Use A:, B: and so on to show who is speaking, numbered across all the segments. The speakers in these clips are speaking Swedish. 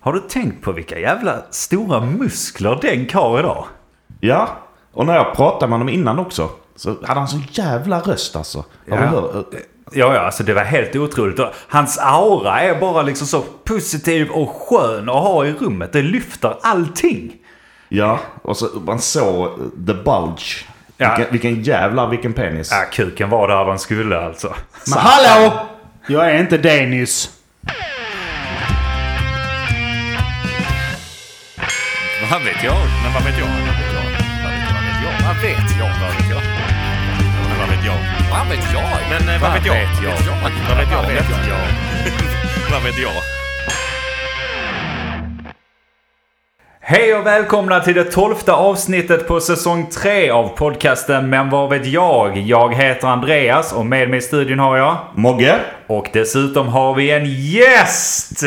A: Har du tänkt på vilka jävla stora muskler Denk har idag?
B: Ja, och när jag pratade med honom innan också så hade han sån jävla röst alltså. Har du
A: Ja.
B: hört?
A: Ja, ja, alltså det var helt otroligt. Och Hans aura är bara liksom så positiv och skön att ha i rummet. Det lyfter allting.
B: Ja, och så man såg eh, the bulge.
A: Ja.
B: Vilken, vilken jävla vilken penis.
A: Ja, kuken var där den skulle alltså.
C: Men hallå! Jag är inte Dennis.
A: Vad vet jag? Men vad vet jag? Vad vet jag? Vad vet jag? Vad vet jag? Vad vet jag? Men vad vet jag?
D: Vad vet jag? Men eh, vad vet jag? Vad vet jag? Vad vet jag? Vad vet jag?
A: Hej och välkomna till det tolfte avsnittet på säsong tre av podcasten Men vad vet jag? Jag heter Andreas och med mig i studion har jag...
B: Mogge?
A: Och dessutom har vi en gäst!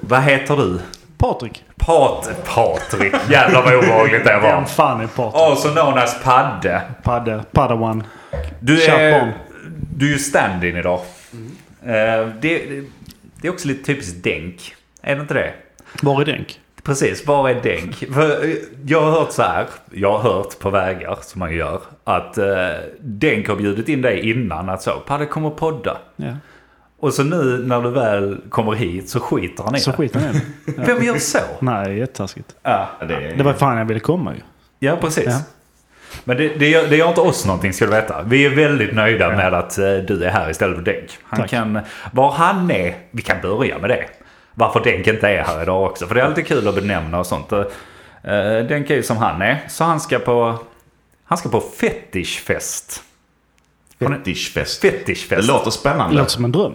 A: Vad heter du?
C: Patrik.
A: Pat... Patrik. Jävlar vad obehagligt det var.
C: Vem fan är Patrik?
A: Also known as Padde.
C: Padde. Padawan.
A: Du
C: Kör
A: är,
C: på.
A: du är ju stand-in idag. Eh, det, det är också lite typiskt Denk. Är det inte det?
C: Var är Denk?
A: Precis, var är Denk? För, eh, jag har hört så här, jag har hört på vägar som man gör, att eh, Denk har bjudit in dig innan att så, Padde kommer podda.
C: Ja.
A: Och så nu när du väl kommer hit så skiter han i
C: Så
A: det.
C: skiter han i det.
A: Vem gör så?
C: Nej, jättetaskigt.
A: Ja,
B: Ja, det är...
C: Det var fan jag ville komma ju.
A: ja precis.
C: Ja.
A: Men det, det, gör, det gör inte oss någonting ska du veta. Vi är väldigt nöjda med att eh, du är här istället för Denk. Han
C: Tack.
A: kan, var han är, vi kan börja med det. Varför Denk inte är här idag också. För det är alltid kul att benämna och sånt. Eh, eh, Denk är ju som han är. Så han ska på, han ska på fetishfest.
B: Fetishfest. Det
A: Fetishfest.
B: låter
C: Det
B: spännande.
C: låter som en dröm.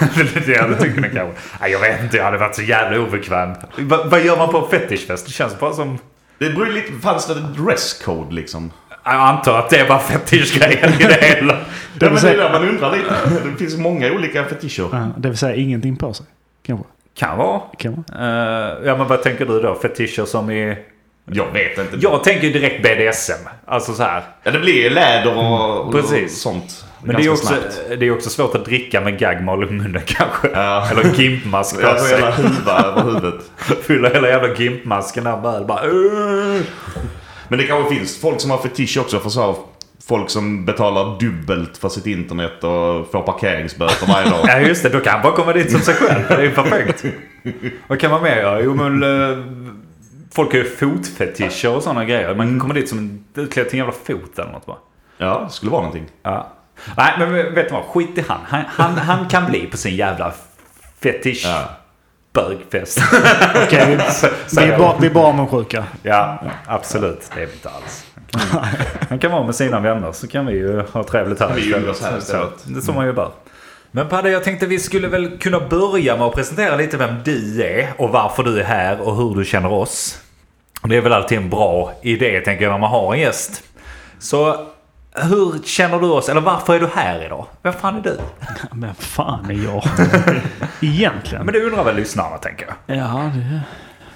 A: det hade tyckt ni kanske. Nej, jag vet inte, jag hade varit så jävla obekväm. Va, vad gör man på en fetishfest? Det känns bara som...
B: Det beror ju lite... Fanns det en dresscode liksom?
A: Jag antar att det var fetischgrejen i det hela.
B: Det,
C: Det
B: ja,
C: vill
B: men det är
C: säga,
B: där man undrar lite. Det finns många olika fetischer.
C: Ja, det vill säga ingenting på sig. Kanske.
A: Kan vara.
C: Kan vara.
A: Eh, ja, men vad tänker du då? Fetischer som är...
B: Jag vet inte.
A: Jag tänker ju direkt BDSM. Alltså så här.
B: Ja, det blir ju läder och, och
A: Precis.
B: sånt.
A: Men det är, ju
B: ganska
A: också,
B: snabbt.
A: det är också svårt att dricka med gaggmal i munnen kanske.
B: Ja.
A: Eller gimpmask
B: Jag
A: på
B: har hela
A: sig.
B: huva över huvudet.
A: Fylla hela jävla gimpmasken där med öl. Bara... "Åh!"
B: Men det kanske finns folk som har fetisch också för så här, folk som betalar dubbelt för sitt internet och får parkeringsböter varje dag.
A: Ja just det, då kan han bara komma dit som sig själv. Det är ju perfekt. Vad kan man mer göra? Jo men... eh, Folk har ju fotfetischer och sådana grejer. Man kommer dit som en- klädd till en jävla fot eller något va?
B: Ja, det skulle vara någonting.
A: Ja. Nej men vet du vad? Skit i han. Han, han, han kan bli på sin jävla fetisch...
B: Ja.
A: Bögfest.
C: Okej, vi, vi, är bara, vi är bara avundsjuka.
A: Ja, absolut. Det är vi inte alls. Han kan- Han kan vara med sina vänner så kan vi ju ha trevligt här
B: vi
A: istället.
B: umgås här
A: så,
B: istället.
A: Det är så man ju bör. Men Padde, jag tänkte vi skulle väl kunna börja med att presentera lite vem du är och varför du är här och hur du känner oss. Det är väl alltid en bra idé tänker jag när man har en gäst. Så hur känner du oss? Eller varför är du här idag? Vem fan är du?
C: Men fan är jag? Egentligen.
A: Men det undrar väl lyssnarna tänker jag.
C: Ja, det,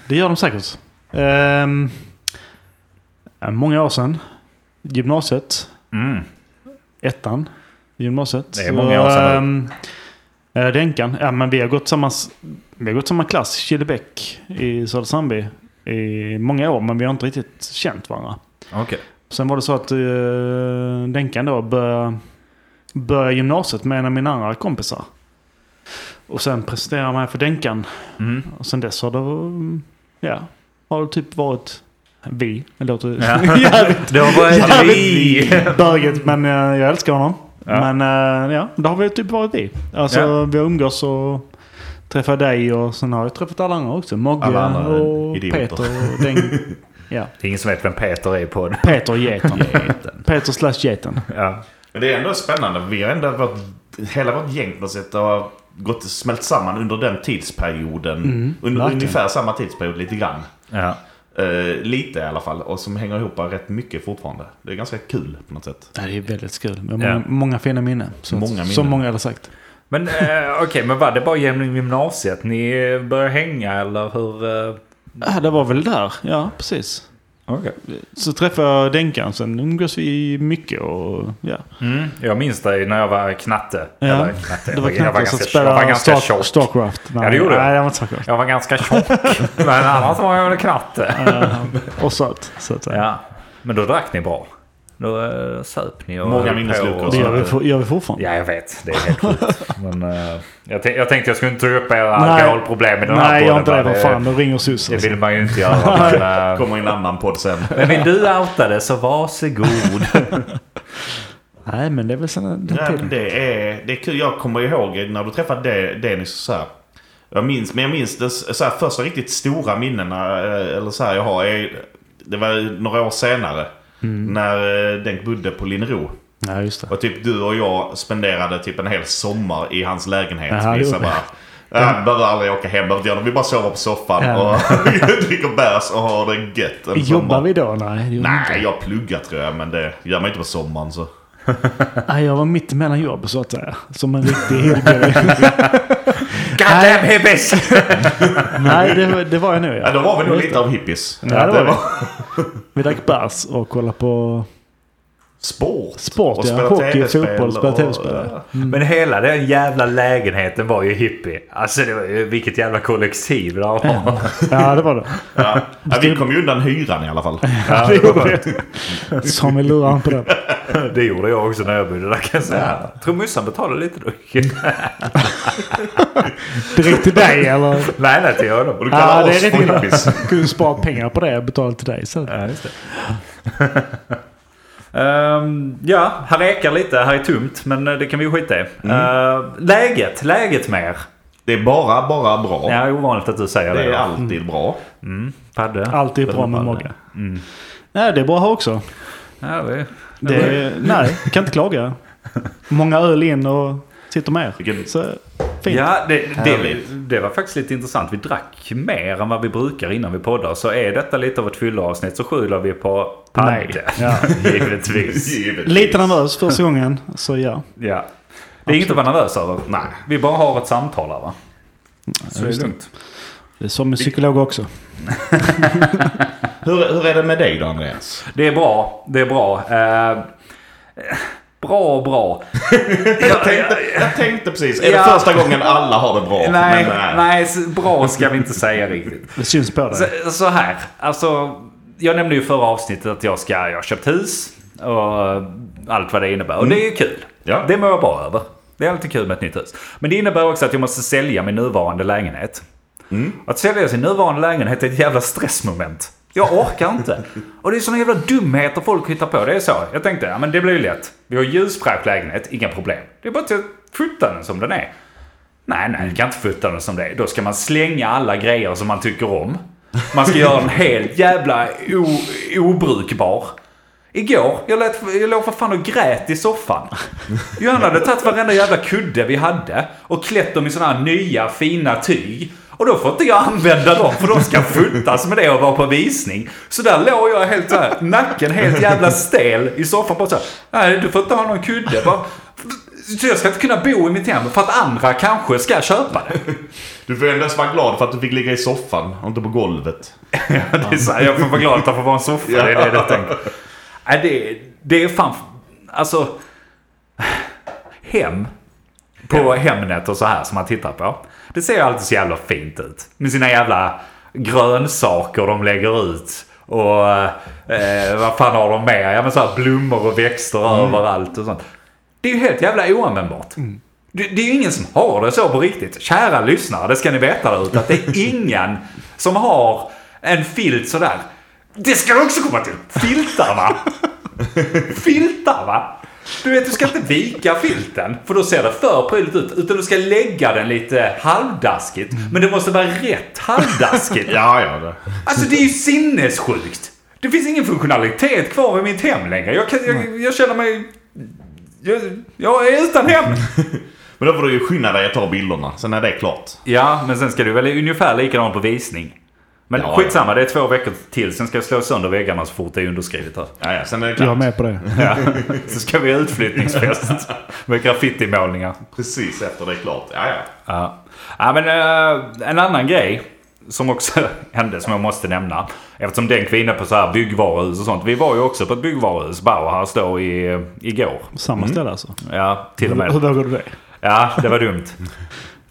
C: det gör de säkert. Ehm, många år sedan. Gymnasiet.
A: Mm.
C: Ettan. i Gymnasiet.
A: Det är många år sedan
C: Um, Denkan. Ja, men vi har gått samma, vi har gått samma klass. Killebäck i Södra Sandby. I många år, men vi har inte riktigt känt varandra.
A: Okej.
C: Sen var det så att uh, Denkan då började, började gymnasiet med en av mina andra kompisar. Och sen presenterade jag mig för Denkan.
A: Mm.
C: Och sen dess har det, mm, ja, har det typ varit vi. Det låter
A: Ja.
C: jävligt
A: Det har varit vi.
C: böget men eh, jag älskar honom.
A: Ja.
C: Men eh, ja, det har vi typ varit vi. Alltså
A: Ja.
C: vi har umgås och träffat dig och sen har jag träffat alla andra också. Mogge
B: Alla andra
C: och
B: idioter.
C: Peter och den, ja.
A: Det är ingen som vet vem Peter är på det.
C: Peter och geten. Peter slash geten.
A: Ja.
B: Men det är ändå spännande. Vi har ändå varit, hela vårt gäng på något sätt har gått smält samman under den tidsperioden. under
C: verkligen.
B: ungefär samma tidsperiod lite grann.
A: Ja.
B: Eh, lite i alla fall. Och som hänger ihop rätt mycket fortfarande. Det är ganska kul på något sätt.
C: Ja, det är väldigt kul. Vi har
A: Ja.
C: många, många fina minnen. Så,
B: Många
C: Som
B: minnen.
C: många har sagt.
A: Men eh, okej, men var det bara genom gymnasiet ni eh, började hänga eller hur? Eh,
C: Ja, det var väl där. Ja, precis.
A: Okej.
C: Så träffade jag Denkan, sen umgås vi mycket och ja.
A: Mm, jag minns dig när jag var knatte.
C: Ja,
A: Eller knatte.
C: Det var
A: jag var
C: knappt som
A: ganska, jag var
C: spelade
A: ganska
C: Star-
A: tjock.
C: Starcraft. Nej,
A: Ja, det gjorde du.
C: Nej, det var inte Starcraft.
A: Jag var ganska tjock. Men annars var jag väl knatte.
C: Eh, Och söt. Så att, säga.
A: Ja. Men då drack ni bra. Då eh, söp ni och
B: Många
A: höll på
B: minnesluckor.
A: och
C: Det gör vi,
A: sånt.
C: for, gör vi fortfarande.
A: Ja, jag vet. Det är helt sjukt. Men, eh, jag, tän- jag tänkte jag skulle inte ta upp era
C: Nej.
A: alkoholproblem i den här
C: Nej, jag är inte
A: podden,
C: det.
A: men
C: Vad fan, då ringer
A: Det
C: Susan.
A: vill man ju inte göra. Men, eh,
B: Kommer i en annan podd sen.
A: men vill du outa det så varsågod.
C: Nej, men det är väl sen...
B: Nej, men det, är, det är kul. Jag kommer ihåg när du träffade De- Dennis så här. Jag minns, men jag minns det så här, första riktigt stora minnena eh, eller så här, jag har. Är, det var några år senare.
C: Mm.
B: När eh, Denk bodde på Linnero.
C: Ja, just det.
B: Och typ du och jag spenderade typ en hel sommar i hans lägenhet.
C: Jaha,
B: minns
C: jo.
B: jag bara. Jag behöver aldrig åka hem, behöver inte göra något. Vi bara sover på soffan
C: Mm. Ja.
B: och dricker bärs och har det gött. en
C: Jobbar
B: sommar.
C: vi då? Nej, det gjorde vi
B: Nej, jag pluggar tror jag, men det gör man inte på sommaren så.
C: Nej, jag var mitt emellan jobb så att säga. Som en riktig hillbilly.
A: God damn hippies!
C: Nej, det, var- det var jag nog.
B: Ja, då var vi nog
C: Just
B: lite av hippies.
C: Ja, det var vi. Vi drack bärs och kollade på...
B: Sport.
C: Sport, ja.
B: spela
C: Hockey,
B: TV-spel
C: fotboll, spela
B: och-
C: TV-spel, ja.
B: ja.
A: Men hela den jävla lägenheten var ju hippie. Alltså det var ju, vilket jävla kollektiv det var.
C: Ja, det var det.
B: Ja. Ja, vi kom ju undan hyran i alla fall.
C: det gjorde vi. Samuel lurade han på den.
A: Det gjorde jag också när jag bodde där kan jag säga. Tror morsan betalade lite då.
C: Direkt till dig eller?
A: Nej, nej, till
B: Och
A: honom.
B: du kallar
C: Ja, det är
B: oss
C: rätt
B: för
C: illa.
B: hippies.
C: Kunde spara pengar på det och betala till dig istället.
A: Ja, just det. Ehm, ja, här ekar lite, här är tomt, men eh, det kan vi ju skita i. Ehm, läget, läget mer.
B: Det är bara, bara bra.
A: Ja, det är ovanligt att du säger
B: Det
A: det.
B: är
A: va?
B: alltid bra.
A: Mm, Padde.
C: Allt är bra med Mogge. Nej, det är bra här också.
A: Ja, det är...
C: Det är, nej, jag kan inte klaga. Många öl in och sitter med er.
B: Vilken-
C: Så fint.
A: Ja, det, det,
B: Härligt.
A: det var faktiskt lite intressant. Vi drack mer än vad vi brukar innan vi poddar. Så är detta lite av ett fylleavsnitt så skyller vi på
C: Nej.
A: Padde.
C: Ja.
A: Givetvis.
B: Givetvis.
C: Lite nervös första gången, så ja.
A: Ja. Det är inget att vara nervös över.
B: Nej.
A: Vi bara har ett samtal här va? Så det är
C: just det.
A: lugnt.
C: Det är som en psykolog också.
B: Hur, hur är det med dig då Andreas?
A: Det är bra. Det är bra. Eh, bra och bra.
B: Jag tänkte, jag tänkte precis, är
A: Ja.
B: det första gången alla har det bra?
A: Nej,
B: Men, eh,
A: nej, s- bra ska vi inte säga riktigt.
C: Det syns på dig.
A: Så, så här, alltså. Jag nämnde ju i förra avsnittet att jag ska, jag har köpt hus och allt vad det innebär. Och
B: Mm.
A: det är ju kul.
B: Ja.
A: Det mår jag bra över. Det är alltid kul med ett nytt hus. Men det innebär också att jag måste sälja min nuvarande lägenhet. Att sälja sin nuvarande lägenhet är ett jävla stressmoment. Jag orkar inte. Och det är såna jävla dumheter folk hittar på. Det är så. Jag tänkte, ja men det blir ju lätt. Vi har ljusfräsch lägenhet, inga problem. Det är bara till att flytta den som den är. Nej, nej, du kan inte flytta den som det är. Då ska man slänga alla grejer som man tycker om. Man ska göra den helt jävla o- obrukbar. Igår, jag, lät, jag låg för fan och grät i soffan. Johanna hade tagit varenda jävla kudde vi hade och klätt dem i såna här nya fina tyg. Och då får inte jag använda dem för de ska fotas med det och vara på visning. Så där låg jag helt såhär, nacken helt jävla stel i soffan bara såhär. Nej, du får inte ha någon kudde. Bara, så jag ska inte kunna bo i mitt hem för att andra kanske ska köpa det.
B: Du får ändå vara glad för att du fick ligga i soffan och inte på golvet.
A: Det är så här, jag får vara glad att jag får vara en soffa. Det är det jag tänker. Nej, det, är- det är fan... Alltså... Hem. På Hemnet och så här som man tittar på. Det ser ju alltid så jävla fint ut. Med sina jävla grönsaker de lägger ut. Och eh, vad fan har de mer? Ja men så här blommor och växter överallt och sånt. Det är ju helt jävla oanvändbart. Det, det är ju ingen som har det så på riktigt. Kära lyssnare, det ska ni veta där ute. Att det är ingen som har en filt sådär. Det ska du också komma till. Filtar va? Filtar va? Du vet, du ska inte vika filten. För då ser det för prydligt ut. Utan du ska lägga den lite halvdaskigt. Men det måste vara rätt halvdaskigt.
B: Ja, ja. Det.
A: Alltså det är ju sinnessjukt. Det finns ingen funktionalitet kvar i mitt hem längre. Jag, kan, jag, jag känner mig... Jag, jag är utan hem.
B: Men då får du ju skynda dig att ta bilderna. Sen är det klart.
A: Ja, men sen ska du väl ungefär likadant på visning. Men
B: Ja,
A: skitsamma, det är två veckor till. Sen ska jag slå sönder väggarna så fort det är underskrivet här.
B: Ja, ja, sen är det
C: Jag är
B: klart.
C: med på det.
A: Ja. så ska vi ha utflyttningsfest med graffitimålningar.
B: Precis efter det är klart. Ja, ja.
A: Ja. ja, men eh, en annan grej som också hände, som jag måste nämna. Eftersom den kvinnan på så här byggvaruhus och sånt. Vi var ju också på ett byggvaruhus, Bauhaus då, i, eh, igår.
C: Samma ställe alltså?
A: Ja, till och med.
C: Hur vågar du det?
A: Ja, det var dumt.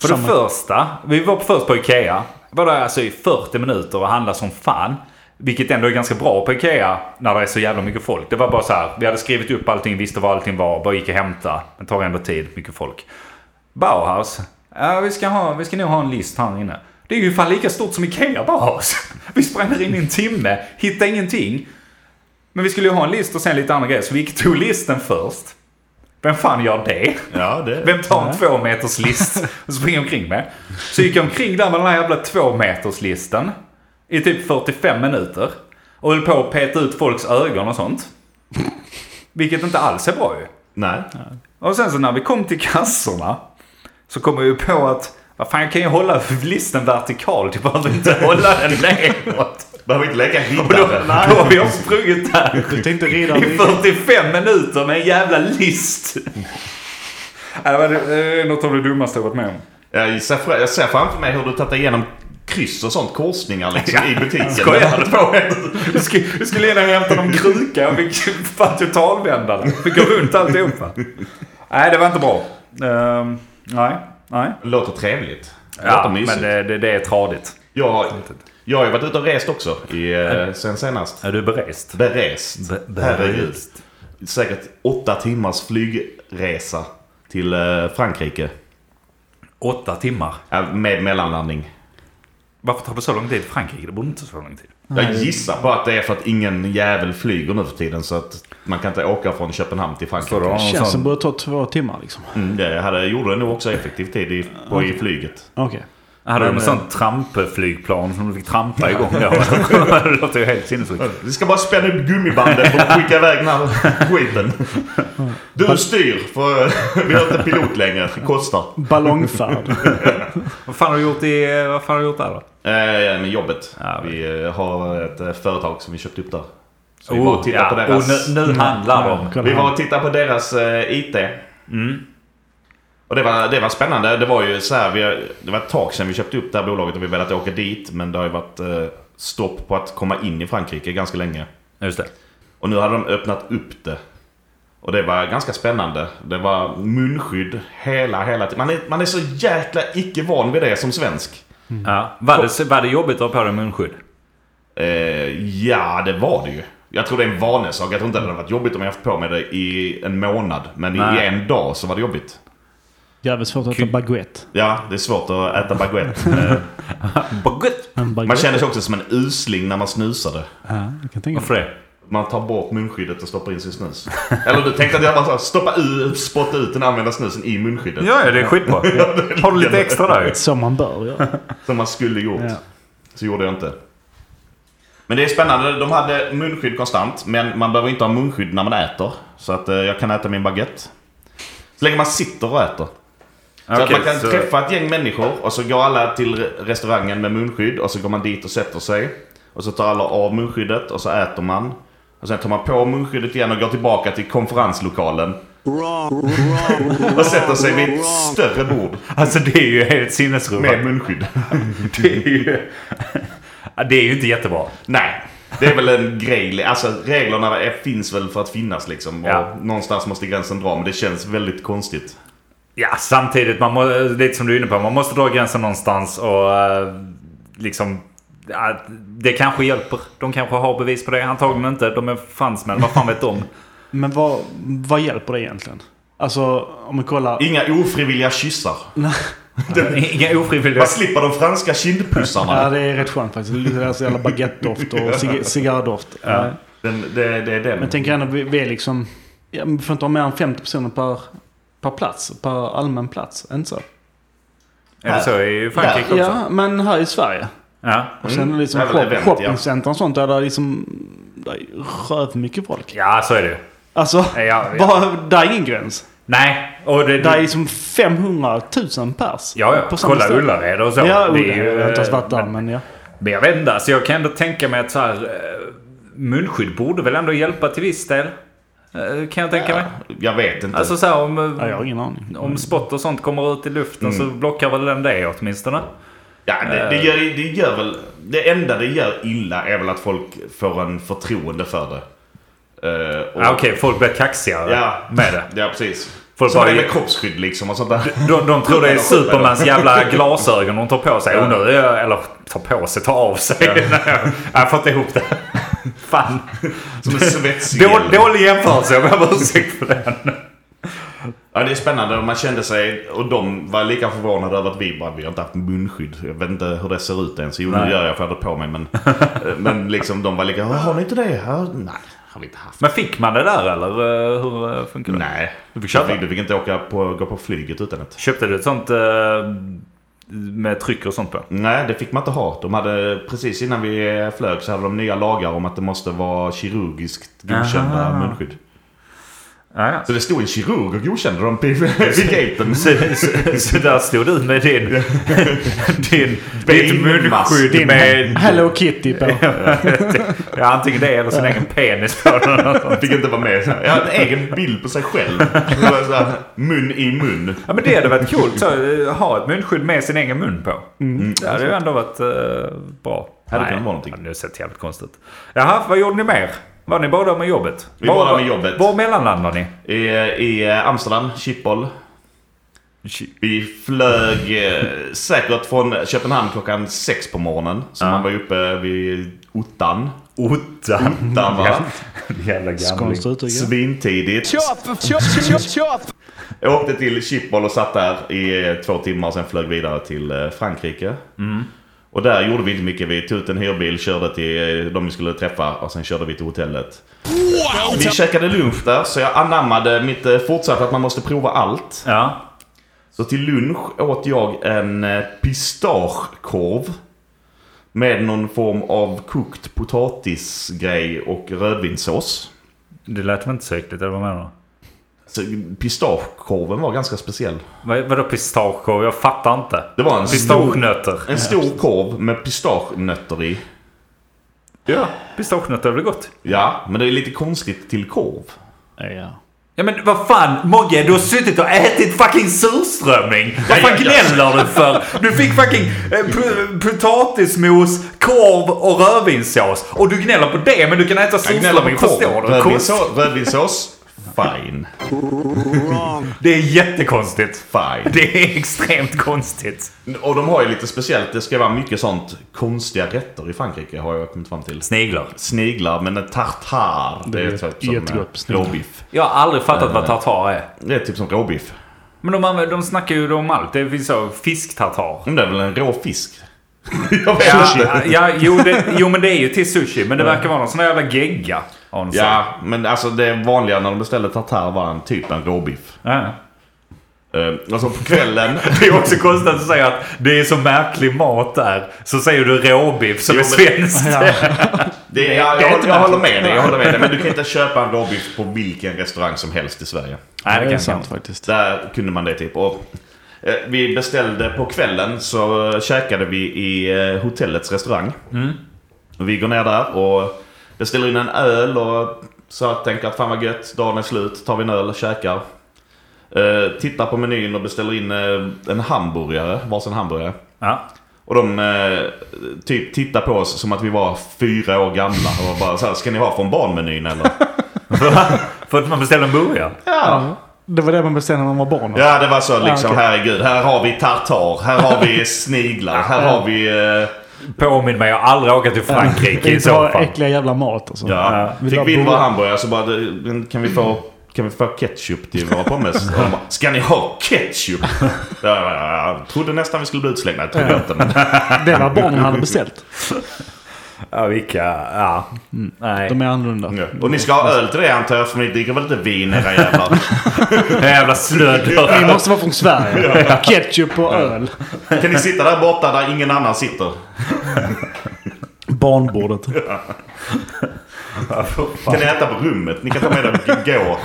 A: För det
C: Samma.
A: första, vi var först på Ikea. Var där alltså i 40 minuter och handlade som fan. Vilket ändå är ganska bra på Ikea när det är så jävla mycket folk. Det var bara så här, vi hade skrivit upp allting, visste vad allting var, bara gick och hämta. Det tar ändå tid, mycket folk. Bauhaus. Ja, vi ska, ha, vi ska nog ha en list här inne. Det är ju fan lika stort som Ikea Bauhaus. Vi sprang där in i en timme, hittade ingenting. Men vi skulle ju ha en list och sen lite andra grejer, så vi gick och tog listen först. Vem fan gör det?
B: Ja, det...
A: Vem tar en två meters list och springer omkring med? Så gick jag omkring där med den här jävla två meters listen i typ 45 minuter. Och höll på att peta ut folks ögon och sånt. Vilket inte alls är bra ju.
B: Nej.
A: Och sen så när vi kom till kassorna så kom jag ju på att vad fan jag kan ju hålla listen vertikalt. Jag behöver inte hålla den neråt.
B: Behöver inte lägga
A: Och då,
B: hittare.
A: då har jag sprungit där
C: Du tänkte rida
A: i 45 minuter med en jävla list. Ja, Det var eh, något av det dummaste jag varit med om.
B: Jag ser, fra- jag ser framför mig hur du tagit igenom kryss och sånt, korsningar liksom, i butiken.
A: Skojar du på mig? Du skulle, du skulle gärna hämta någon kruka. Jag fick fan totalvända den. Fick gå runt alltihopa. Nej, det var inte bra. Ehm, nej, nej.
B: Låter trevligt.
A: Ja,
B: Låter mysigt.
A: men det, det, det är tradigt.
B: Jag, har- jag har ju varit ute och rest också i, eh, sen senast.
A: Är du berest?
B: Berest.
A: Be- berest.
B: Herregud. Säkert åtta timmars flygresa till eh, Frankrike.
A: Åtta timmar.
B: Ja, Med mellanlandning.
A: Varför tar det så lång tid i Frankrike? Det borde inte ta så lång tid.
B: Jag gissar på att det är för att ingen jävel flyger nu för tiden så att man kan inte åka från Köpenhamn till
A: Så då?
B: Frankrike.
A: någon
C: Känns
A: sån-
C: som borde ta två timmar liksom.
B: Mm, det hade, gjorde det nog också effektiv tid i, på, i flyget.
C: Okej.
A: Hade
B: Men,
A: de en sån trampeflygplan som du fick trampa igång då? det låter ju helt sinnessjukt.
B: Vi ska bara spänna upp gummibanden för att skicka iväg den här skiten. Du styr, för eh, vi har inte pilot längre. Det kostar.
C: Ballongfärd.
A: Vad fan har du gjort, i, vad fan har du gjort där då?
B: Eh, med jobbet.
A: Ja,
B: vi eh, har ett eh, företag som vi köpt upp där. Så vi
A: Oh,
B: var och tittade
A: ja.
B: på deras...
A: Och nu, Mm. nu handlar det om...
C: Kolla
B: Vi
C: här.
B: var och tittade på deras eh, IT. Och det var, det var spännande. Det var ju så här, vi, har- det var ett tag sedan vi köpte upp det här bolaget och vi velat åka dit. Men det har ju varit eh, stopp på att komma in i Frankrike ganska länge.
A: Just det.
B: Och nu hade de öppnat upp det. Och det var ganska spännande. Det var munskydd hela, hela tiden. Man är, man är så jäkla icke van vid det som svensk.
A: Ja. Var, det, var det jobbigt att ha på dig munskydd?
B: Eh, ja, det var det ju. Jag tror det är en vanesak. Jag tror inte det hade varit jobbigt om jag haft på mig det i en månad. Men i, i
A: Nej.
B: en dag så var det jobbigt.
C: Jävligt svårt att äta
A: Kul.
C: baguette.
B: Ja, det är svårt att äta baguette. Eh,
A: Baguette!
C: En baguette.
B: Man känner sig också som en usling när man snusade.
C: Ja, jag kan tänka mig.
A: Varför det?
B: Man tar bort munskyddet och stoppar in sin snus. Eller du tänkte att jag bara så här, stoppa ut, spotta ut den använda snusen i munskyddet.
A: Ja, ja, det är skitbra. Har du lite extra där ju?
C: Som man bör göra.
B: Som man skulle gjort.
C: Ja.
B: Så gjorde jag inte. Men det är spännande. De hade munskydd konstant. Men man behöver inte ha munskydd när man äter. Så att eh, jag kan äta min baguette. Så länge man sitter och äter. Så att man kan träffa ett gäng människor och så går alla till restaurangen med munskydd och så går man dit och sätter sig. Och så tar alla av munskyddet och så äter man. Och sen tar man på munskyddet igen och går tillbaka till konferenslokalen. Och sätter sig vid ett större bord
A: Alltså det är ju helt sinnesrubbat.
B: med munskydd.
A: Det är ju... Ja, det är ju inte jättebra.
B: Nej, det är väl en grej. Alltså reglerna är, finns väl för att finnas liksom. Och
A: Ja.
B: Någonstans måste gränsen dra men det känns väldigt konstigt.
A: Ja, samtidigt, man må, lite som du är inne på, man måste dra gränsen någonstans och eh, liksom... ja, Det kanske hjälper. De kanske har bevis på det. Antagligen inte. De är fransmän. Vad fan vet de?
C: Men vad, vad hjälper det egentligen? Alltså om man kollar...
B: Inga ofrivilliga kyssar.
A: Inga ofrivilliga...
B: Man slipper de franska kindpussarna.
C: Ja, det är rätt skönt faktiskt. Det luktar deras jävla baguette-doft och cig- cigarrdoft. Ja.
B: Den, det, det är den.
C: Men jag tänker ändå, vi, vi är liksom... Ja, men vi får inte ha mer än 50 personer per, per plats. Per allmän plats. Inte så?
A: Är det så i Frankrike också?
C: Ja, men här i Sverige.
A: Ja.
C: Och sen
B: Mm.
C: liksom
B: Det är väl
C: shop,
B: event, ja.
C: shoppingcenter och sånt. Där det är liksom... Det är röv mycket folk.
A: Ja, så är det ju.
C: Alltså,
A: Ja, ja.
C: Bara, där är ingen gräns.
A: Nej, och det...
C: Där är liksom 500 000 pers.
A: Ja, ja.
C: på samma
A: Kolla
C: ställe.
A: Ullared och så.
C: Ja,
A: Det
C: Ullared.
A: är ju, eh,
C: Jag har inte ens varit där,
A: men-
C: men ja.
A: Men jag vet inte, alltså jag kan ändå tänka mig att så här, eh, munskydd borde väl ändå hjälpa till viss del. Eh, Kan jag tänka mig.
B: Jag vet inte.
A: Alltså så här, om, eh,
C: ja. Mm. Jag har ingen aning.
A: om spott och sånt kommer ut i luften så blockar väl den det åtminstone.
B: Ja, det,
A: eh,
B: det, gör, det gör väl... Det enda det gör illa är väl att folk får en förtroende för det. Eh, och-
A: Ja, Ah, Okej, folk blir kaxigare
B: Ja.
A: med det.
B: Ja, precis.
A: Folk
B: Som
A: bara-
B: det är med kroppsskydd liksom och sånt där.
A: De, de tror det är Supermans jävla glasögon de tar på sig.
B: Ja.
A: Ja. Undrar, eh, eller tar på sig, tar av sig. Nej, jag har fått ihop det. Fan.
B: Som en svetsig
A: Dålig, dålig jämförelse, jag ber om ursäkt för den.
B: Ja, det är spännande. Man kände sig... Och de var lika förvånade över att vi bara, vi har inte haft munskydd. Jag vet inte hur det ser ut ens. Jo, det
A: Nej.
B: gör jag för jag hade på mig. Men, men liksom de var lika, "Ja, har ni inte det? Ja, nej, har vi inte haft.
A: Men fick man det där eller? eh, Hur eh, funkar det?
B: Nej.
A: Du fick
B: Du
A: köpa?
B: fick, du fick inte åka på, gå på flyget utan det.
A: Köpte du ett sånt eh, med tryck och sånt på?
B: Nej, det fick man inte ha. De hade, precis innan vi eh, flög så hade de nya lagar om att det måste vara kirurgiskt godkända
A: Aha.
B: munskydd.
A: Ja, ja.
B: Så det stod en kirurg och godkände dem vid vid gaten.
A: Så, så, så där stod du med din, din, ditt
B: Benmask.
A: munskydd
C: Din
A: med...
C: Hello Kitty på.
A: Ja, antingen det eller sin egen penis på den. eller något.
B: Jag fick inte vara med. Så här. Jag hade en egen bild på sig själv. Det var så här, mun i mun.
A: Ja men det hade varit coolt. Så, eh, ha ett munskydd med sin egen mun på. Det hade ju ändå varit eh, bra.
B: Hade
A: Nej,
B: kunnat vara någonting.
A: ja, Nu sett jävligt konstigt ut. Jaha, vad gjorde ni mer? Var ni båda med jobbet?
B: Vi var där med jobbet.
A: Var mellanlandade ni?
B: I, i eh, Amsterdam, Schiphol. Vi flög eh, säkert från Köpenhamn klockan sex på morgonen. Så
A: Ja.
B: man var ju uppe vid ottan.
A: Ottan.
B: Ottan va?
A: Jävla gamling.
C: Skånskt uttryck. ja.
B: Svintidigt. Jag åkte till Schiphol och satt där i eh, två timmar och sen flög vidare till eh, Frankrike. Och där gjorde vi inte mycket. Vi tog ut en hyrbil, körde till eh, de vi skulle träffa och sen körde vi till hotellet. Vi käkade lunch där så jag anammade mitt eh, fortsatta att man måste prova allt.
A: Ja.
B: Så till lunch åt jag en eh, pistagekorv. Med någon form av kokt potatisgrej och rödvinssås.
A: Det lät väl inte så äckligt, eller vad menar du?
B: Så pistagekorven var ganska speciell.
A: Vad- Vadå pistagekorv? Jag fattar inte.
B: Det var en stor,
A: Pistagenötter.
B: en stor korv med pistagenötter i.
A: Ja, pistagenötter är väl gott?
B: Ja, men det är lite konstigt till korv.
C: Ja.
A: Ja men vad fan Mogge, du har suttit och ätit fucking surströmming. Vad fan
B: Ja, ja, ja.
A: gnäller du för? Du fick fucking eh, pu- potatismos, korv och rödvinssås. Och du gnäller på det men du kan äta surströmming. Förstår du? Konst-
B: Rödvinssås, rödvinssås. Fine.
A: Det är jättekonstigt.
B: Fine.
A: Det är extremt konstigt.
B: Och de har ju lite speciellt. Det ska vara mycket sånt konstiga rätter i Frankrike har jag kommit fram till.
A: Sniglar.
B: Sniglar, men en tartar. Det är
C: Det är
B: typ som
C: jättegott
B: eh,
C: sniglar.
B: råbiff.
A: Jag har aldrig
B: Eh.
A: fattat vad tartar är.
B: Det är typ som råbiff.
A: Men de, använder- de snackar ju om allt. Det finns så fisktartar.
B: Men det är väl en rå fisk? jag vet inte.
A: Ja, ja, jo, det, jo men det är ju till sushi. Men det verkar vara någon sån här jävla gegga. har de sagt.
B: Ja, men alltså det vanliga när de beställde tartar var en typ en råbiff.
A: ja.
B: Eh, Alltså på kvällen.
A: Det är också konstigt att säga att det är så märklig mat där. Så säger du råbiff som
B: Jo,
A: är
B: men-
A: svenskt.
B: Det, jag,
C: det är
B: jag,
C: inte
B: jag, håller med dig, jag håller med dig. Men du kan inte köpa en råbiff på vilken restaurang som helst i Sverige.
A: Nej,
C: Det är
A: jag
C: sant
A: inte.
C: faktiskt.
B: Där kunde man det typ. Och, eh, vi beställde på kvällen så eh, käkade vi i eh, hotellets restaurang. Och Vi går ner där och beställer in en öl och så här tänker att fan vad gött, dagen är slut, tar vi en öl, käkar. Eh, tittar på menyn och beställer in eh, en hamburgare, varsin hamburgare.
A: Ja.
B: Och de eh, typ tittar på oss som att vi var fyra år gamla och bara så här, ska ni ha från barnmenyn eller?
A: För att man beställer en burgare?
B: Ja.
C: Det var det man bestämde när man var barn.
B: ja, det var så liksom,
C: Ah, okej.
B: herregud, här har vi tartar, här har vi sniglar, här har vi... Eh,
A: Påminn mig, jag har aldrig åkat till Frankrike i
C: Inte
A: så
C: bara
A: fall.
C: äckliga jävla mat alltså. och så.
B: ja.
C: Vi la
B: Fick vi in
C: bo-
B: våra hamburgare så bara, "Men kan vi få... Kan vi få ketchup till våra pommes? Och de bara, Ska ni ha ketchup? Ja, Jag trodde nästan vi skulle bli utslängda. Jag trodde inte. Men
C: Det var barnen hade beställt.
A: Ja, vilka... Ja. Mm. Nej.
C: De är annorlunda.
B: Och ni ska ha öl till det antar jag, för ni dricker väl inte vin era jävlar?
A: Jävla slödder.
C: Ni måste vara från Sverige. Ketchup och öl.
B: Kan ni sitta där borta där ingen annan sitter?
C: Barnbordet.
B: Kan ni äta på rummet? Ni kan ta med dem och gå.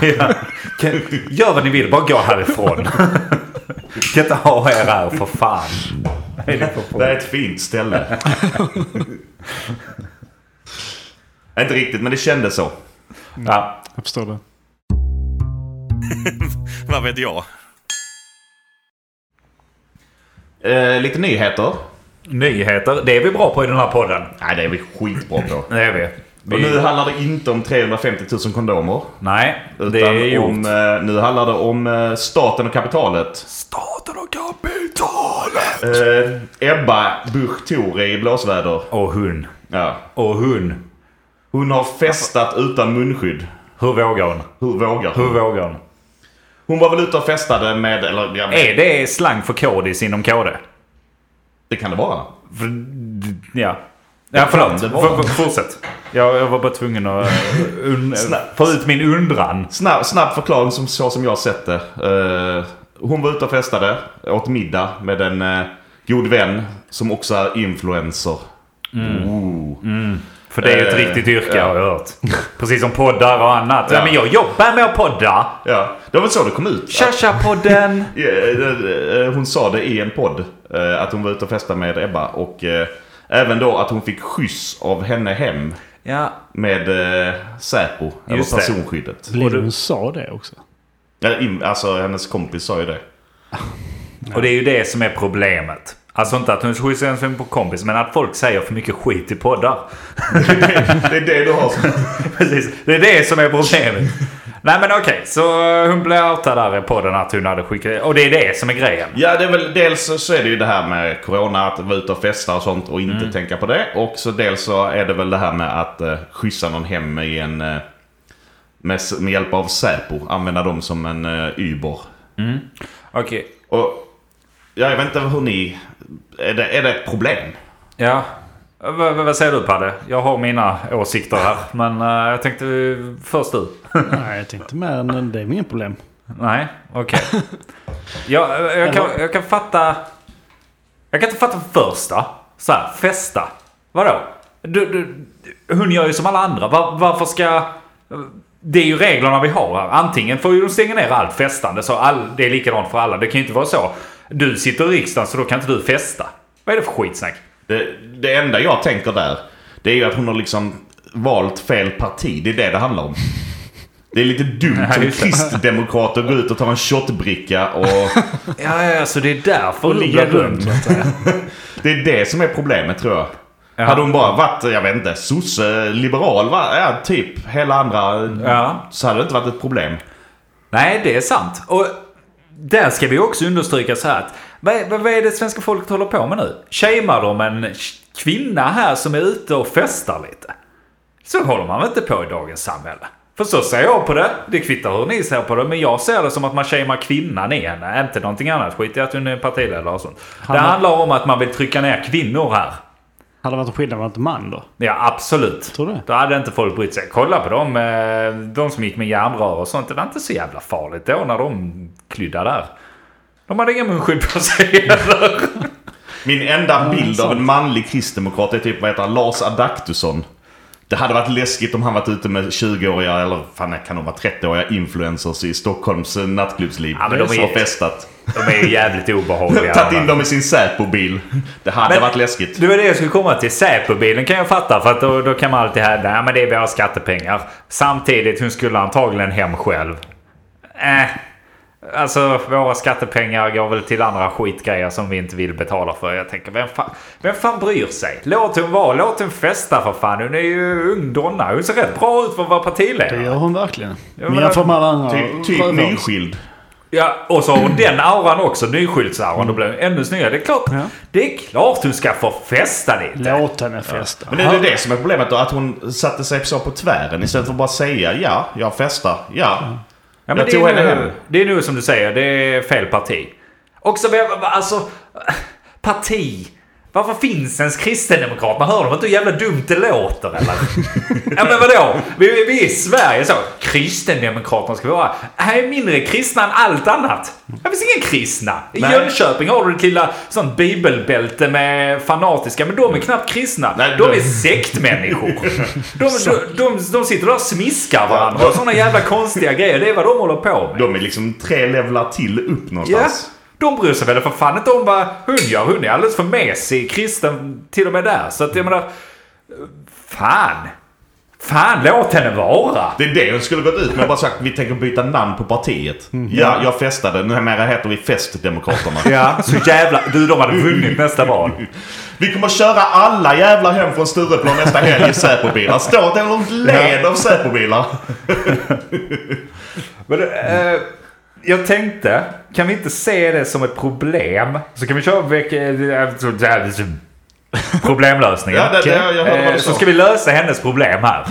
A: Kan- Gör vad ni vill, bara gå härifrån. Kan inte ha er här för fan. Vad är det för
B: Det
A: folk?
B: är ett fint ställe. Inte riktigt, men det kändes så.
A: Ja.
C: Jag förstår det.
D: Vad vet jag?
B: Eh, lite nyheter.
A: Nyheter, det är vi bra på i den här podden.
B: Nej, det är vi skitbra på.
A: Det är vi.
B: Och
A: vi
B: nu handlar det inte om 350 000 kondomer.
A: nej,
B: Utan
A: det är gjort.
B: om, eh, nu handlar det om eh, staten och kapitalet.
A: Staten och kapitalet!
B: Eh, Ebba Busch Thor är i blåsväder.
A: Och hon.
B: Ja.
A: Och hon.
B: Hon har festat utan munskydd.
A: Hur vågar hon?
B: Hur vågar
A: Hur
B: hon?
A: vågar hon?
B: Hon var väl ute och festade med... Eller, ja, men,
A: Är det slang för kodis inom KD?
B: det kan det vara.
A: För, ja. Ja, förlåt.
B: Det var-
A: F- f- fortsätt. Jag, jag var bara tvungen att eh, un-
B: Snabbt.
A: få ut min undran.
B: Snabb, snabb förklaring som, så som jag har sett det. Eh, hon var ute och festade, åt middag med en eh, god vän som också är influencer.
A: Mm.
B: Ooh.
A: För det är ju ett
B: Eh,
A: riktigt yrke
B: ja.
A: har jag hört. Precis som poddar och annat. Ja.
B: Ja.
A: men jag jobbar med att podda.
B: Ja, det var väl så det kom ut.
A: Tja-tja-podden.
B: Ja, eh, eh, Hon sa det i en podd. eh, Att hon var ute och festade med Ebba. Och eh, även då att hon fick skjuts av henne hem.
A: ja.
B: Med eh, Säpo.
A: Just det.
B: eller personskyddet.
C: Blir hon sa det också?
B: Ja, in- Alltså hennes kompis sa ju det.
A: Och det är ju det som är problemet. Alltså inte att hon skjutsar ens en på kompis, men att folk säger för mycket skit i poddar.
B: Det är det du har som...
A: Precis, det är det som är problemet. Nej men okej, så eh, hon blev outad där i podden att hon hade skickat... Och det är det som är grejen.
B: Ja, det är väl, dels så är det ju det här med corona, att vara ute och festa och sånt och inte
A: Mm.
B: tänka på det. Och så dels så är det väl det här med att eh, skjutsa någon hem i en... Eh, med, s- med hjälp av Säpo, använda dem som en eh, Uber.
A: Okej,
B: Och ja, jag vet inte hur ni... Är det, är det ett problem?
A: ja. V- v- vad säger du Palle? Jag har mina åsikter här. Men eh, jag tänkte eh, först du.
C: Nej, jag tänkte mer men det är inget problem.
A: Nej, okej. jag, eh, jag, kan, jag kan fatta... Jag kan inte fatta första. Så här, festa. Vadå? Du, du, hon gör ju som alla andra. Var, varför ska... Det är ju reglerna vi har här. Antingen får ju de stänga ner allt festande så all, det är likadant för alla. Det kan ju inte vara så. Du sitter i riksdagen så då kan inte du festa. Vad är det för skitsnack?
B: Det, det enda jag tänker där, det är ju att hon har liksom valt fel parti. Det är det det handlar om. Det är lite dumt
A: Ja,
B: som
A: just det.
B: kristdemokrat att gå ut och ta en shotbricka och...
A: Ja, ja, så det är därför hon
C: ligga
A: blir dömd.
C: runt så att säga.
B: Det är det som är problemet tror jag.
A: Ja.
B: Hade hon bara varit, jag vet inte, sosse, liberal, va? Ja, typ hela andra.
A: Ja.
B: Så hade det inte varit ett problem.
A: Nej, det är sant. Och där ska vi också understryka så här att vad, vad, vad är det svenska folket håller på med nu? Shamear de en kvinna här som är ute och festar lite? Så håller man väl inte på i dagens samhälle? För så ser jag på det. Det kvittar hur ni ser på det. Men jag ser det som att man shamear kvinnan i henne. Inte någonting annat. Skit i att hon är partiledare och sånt. Det
C: Han-
A: handlar om att man vill trycka ner kvinnor här.
C: Hade det varit en skillnad om det varit en man då?
A: Ja, absolut.
C: Tror du?
A: Då hade inte folk brytt sig. Kolla på dem, eh, de som gick med järnrör och sånt. Det var inte så jävla farligt då när de klydda där. De hade inga munskydd på sig heller.
B: Min enda bild av en manlig kristdemokrat är typ, vad heter han, Lars Adaktusson. Det hade varit läskigt om han varit ute med 20-åriga, eller fan kan de vara 30-åriga influencers i Stockholms eh, nattklubbsliv.
A: Ja, men de är
B: och
A: ju-
B: festat.
A: De är ju jävligt obehagliga.
B: Tagit in dem i sin Säpo-bil. Det hade
A: Men-
B: varit läskigt.
A: Det var det jag skulle komma till. Säpo-bilen kan jag fatta för att då, då kan man alltid hävda "Ja, men det är våra skattepengar. Samtidigt, hon skulle antagligen hem själv. Äh. Alltså våra skattepengar går väl till andra skitgrejer som vi inte vill betala för. Jag tänker vem fan, vem fan bryr sig? Låt hon vara, låt hon festa för fan. Hon är ju ung donna. Hon ser rätt bra ut för att vara
C: Det
A: partiledare.
C: gör hon verkligen. Men
A: men-
C: jag får med alla andra
B: Typ, typ
C: sjöfolk.
B: nyskild.
A: Ja, och så har hon den auran också. Nyskyltsauran. Då blir hon ännu snyggare. Det är klart,
C: Ja.
A: det är klart hon ska få festa lite.
C: Låt henne festa.
B: Men det är det det som är problemet då? Att hon satte sig så på tvären istället för att bara säga ja, jag festar, ja.
A: Ja, men
B: Jag
A: det,
B: tog
A: är
B: henne
A: nu,
B: hem.
A: det är nu som du säger, det är fel parti. Också, vem- alltså... Parti. Varför finns ens Kristdemokraterna? Hör de inte hur jävla dumt det låter eller? ja men vadå? Vi, vi, vi är i Sverige så. Kristdemokraterna ska vi vara. Här är mindre kristna än allt annat. Det finns ingen kristna. I
B: Nej.
A: Jönköping har du ett lilla sånt bibelbälte med fanatiska, men de är knappt kristna.
B: Nej,
A: Mm. de
B: de-
A: är sektmänniskor. De, de, de, de sitter där och smiskar varandra och sådana jävla konstiga grejer. Det är vad de håller på med.
B: De är liksom tre levlar till upp
A: Ja,
B: någonstans.
A: de bryr sig väl för fan inte om vad hon gör. Hon är alldeles för mesig, kristen till och med där. Så att jag menar... Fan! Fan, låt henne vara!
B: Det är det hon skulle gått ut med. Bara sagt vi tänker byta namn på partiet. Ja, jag festade. Numera heter vi Festdemokraterna.
A: Ja, så jävla... Du, de hade vunnit nästa val.
B: Vi kommer köra alla jävla hem från Stureplan nästa helg i Säpobilar. Stå ett enormt led av Säpobilar.
A: Men, eh, jag tänkte, kan vi inte se det som ett problem? Så kan vi köra veck- eh, problemlösningen.
B: Ja, det- det- jag hörde vad du
A: Eh,
B: sa.
A: så ska vi lösa hennes problem här.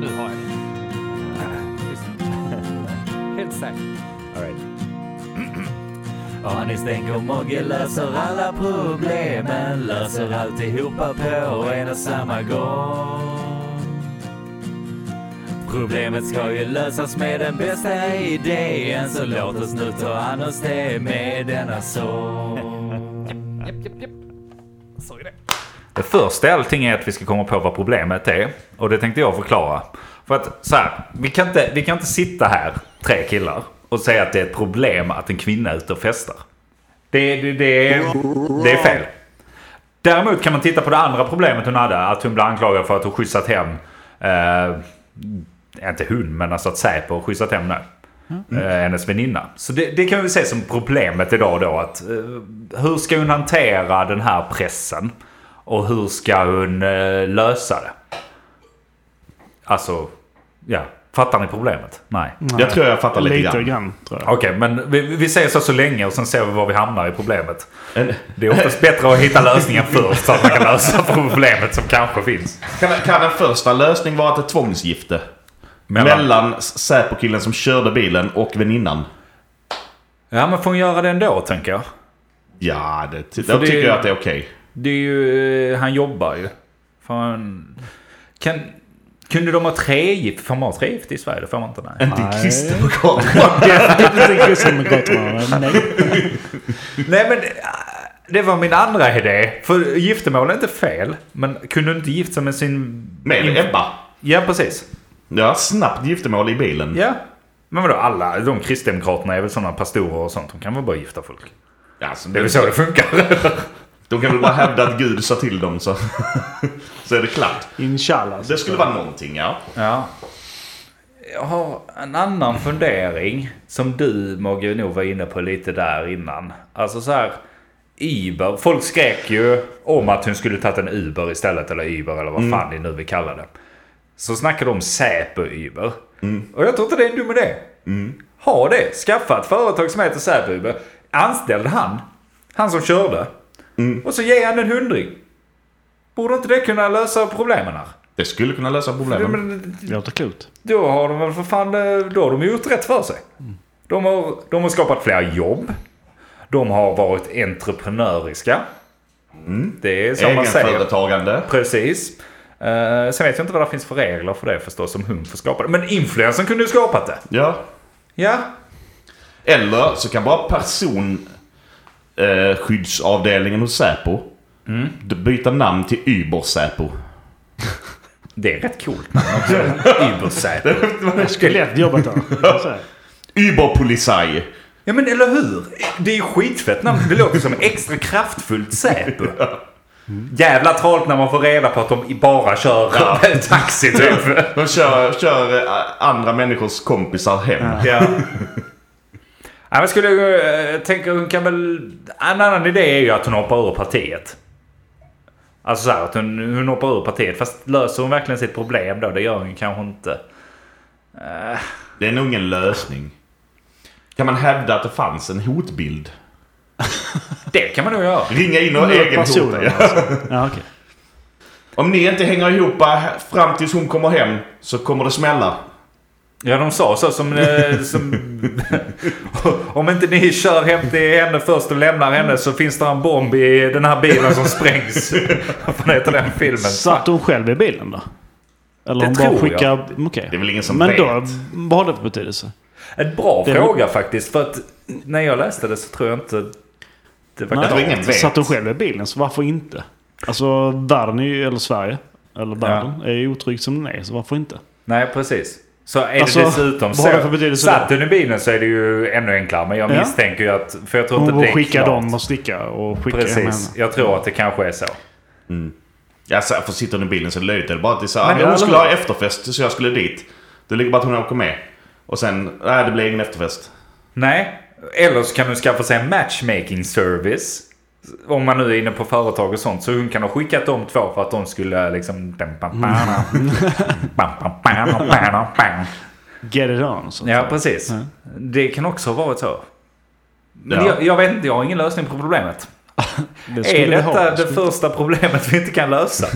E: Nu har jag det. Helt säkert. Anis Denk och Mogge löser alla problemen, löser alltihopa på en och samma gång. Problemet ska ju lösas med den bästa idén, så låt oss nu ta an oss det med denna sång.
A: Det första i allting är att vi ska komma på vad problemet är. Och det tänkte jag förklara. För att så här, vi kan inte, vi kan inte sitta här, tre killar, och säga att det är ett problem att en kvinna är ute och festar. Det, det, det, är- det är fel. Däremot kan man titta på det andra problemet hon hade, att hon blev anklagad för att ha skjutsat hem, eh, inte hon, men alltså att Säpo har skjutsat hem nu. Eh, hennes väninna. Så det, det kan vi se som problemet idag då. Att, eh, hur ska hon hantera den här pressen? Och hur ska hon eh, lösa det? Alltså, ja. Fattar ni problemet? Nej.
B: Jag tror jag fattar lite grann.
C: tror jag.
A: Okej, men vi, vi säger så så länge och sen ser vi var vi hamnar i problemet.
B: En-
A: Det är oftast bättre att hitta lösningen först så att man kan lösa problemet som kanske finns.
B: Kan, kan en första lösning vara att ett tvångsgifte?
A: Mellan-
B: Mellan Säpo-killen som körde bilen och väninnan.
A: Ja, men får hon göra det ändå, tänker jag.
B: Ja, det, ty- då
A: det-
B: tycker jag att det är okej.
A: Det är ju... eh, Han jobbar ju. Fan. Kan... Kunde de ha tregift? Får man ha tregift i Sverige? Det får man inte, nej.
B: Inte Kristdemokraterna.
C: Definitivt Kristdemokraterna. Nej.
A: Nej men eh, det var min andra idé. För giftermål är inte fel. Men kunde du inte gifta sig med sin...
B: Med Ebba.
A: Ja precis.
B: Ja, snabbt giftermål i bilen.
A: Ja. Men vadå alla? De kristdemokraterna är väl sådana pastorer och sånt. De kan väl bara gifta folk?
B: Alltså,
A: Det är väl så det funkar?
B: De kan väl bara hävda att Gud sa till dem så, så är det klart.
C: Inshallah. alltså.
B: Det skulle vara någonting, ja.
A: ja. Jag har en annan fundering. Som du Mogge nog var inne på lite där innan. Alltså så här. Uber. Folk skrek ju om att hon skulle tagit en Uber istället. Eller Uber eller vad fan det nu vi kallar det. Så snackar de om Säpo-Uber. Och jag tror inte det är en dum idé. Ha det. Skaffa ett företag som heter Säpo-Uber. Anställ han. Han som körde. Och så ge han en hundring. Borde inte det kunna lösa problemen här?
B: Det skulle kunna lösa problemen.
A: Men
C: Det låter klokt.
A: då har de väl för fan, eh, då har de gjort rätt för sig. De har, de har skapat fler jobb. De har varit entreprenöriska. Mm, Det är som man säger.
B: Egenföretagande.
A: Precis. Eh, sen vet jag inte vad det finns för regler för det förstås, som hon får skapa det. Men influensen kunde ju skapat det.
B: Ja.
A: Ja.
B: Eller så kan bara person eh, skyddsavdelningen hos Säpo
A: Mm.
B: d- byta namn till Uber-Säpo.
A: Det är rätt coolt namn också. Ubersäter.
C: Jag skulle lätt jobbat där. Så här.
B: Uber-Polisaj.
A: Ja men eller hur? Det är ju skitfett namn. Det låter som extra kraftfullt Säpo. Jävla trollt när man får reda på att de bara kör taxi typ.
B: De kör, kör eh, andra människors kompisar hem.
A: Ja. ja men skulle jag, jag tänker hon kan väl... En annan idé är ju att hon hoppar ur partiet. Alltså så här, att hon, hon hoppar ur partiet. Fast löser hon verkligen sitt problem då? Det gör hon kanske inte.
B: Det är nog ingen lösning. Kan man hävda att det fanns en hotbild?
A: Det kan man nog göra.
B: Ringa in och
C: Personen,
B: egenhota.
C: alltså. Ja, okej.
B: Om ni inte hänger ihop eh, fram tills hon kommer hem så kommer det smälla.
A: Ja, de sa så som... eh, som om inte ni kör hem till henne först och lämnar henne så finns det en bomb i den här bilen som sprängs. Vad fan heter den filmen?
C: Satt hon själv i bilen då? Eller
A: Det
C: hon bara
A: tror
C: skickar...
A: jag.
C: Okej.
B: Det är väl ingen som
C: Men
B: vet.
C: då, vad har det för betydelse?
A: En bra
C: Det-
A: fråga faktiskt. För att när jag läste det så tror jag inte... Det var
C: Nej.
B: tror ingen vet.
C: Satt hon själv i bilen så varför inte? Alltså världen är ju, eller Sverige, eller världen, är ju otrygg som den är. Så varför inte?
A: Nej, precis. Så är
C: Alltså,
A: det dessutom
C: vad har det för
A: så.
C: betydelse
A: Satt den i bilen så är det ju ännu enklare. Men jag
C: Ja.
A: misstänker ju att... För jag tror
C: Hon
A: inte det
C: får
A: är
C: skicka
A: klart.
C: dem och sticka och skicka hem henne.
A: Precis. Jag tror att det kanske är så.
B: Ja, så här, för sitter hon i bilen så är det löjligt. Det är bara att det är så här,
C: Men
B: men hon
C: alla-
B: skulle ha efterfest så jag skulle dit. Det ligger bara att hon åker med. Och sen, nej det blir ingen efterfest.
A: Nej, eller så kan du skaffa sig en matchmaking service. Om man nu är inne på företag och sånt. Så hon kan ha skickat de två för att de skulle liksom...
C: Mm. Get it on. Så.
A: Ja, precis. Det kan också ha varit så. Men
B: Ja.
A: jag, jag vet inte, jag har ingen lösning på problemet.
C: Det skulle
A: Är
C: vi ha.
A: detta det första problemet vi inte kan lösa?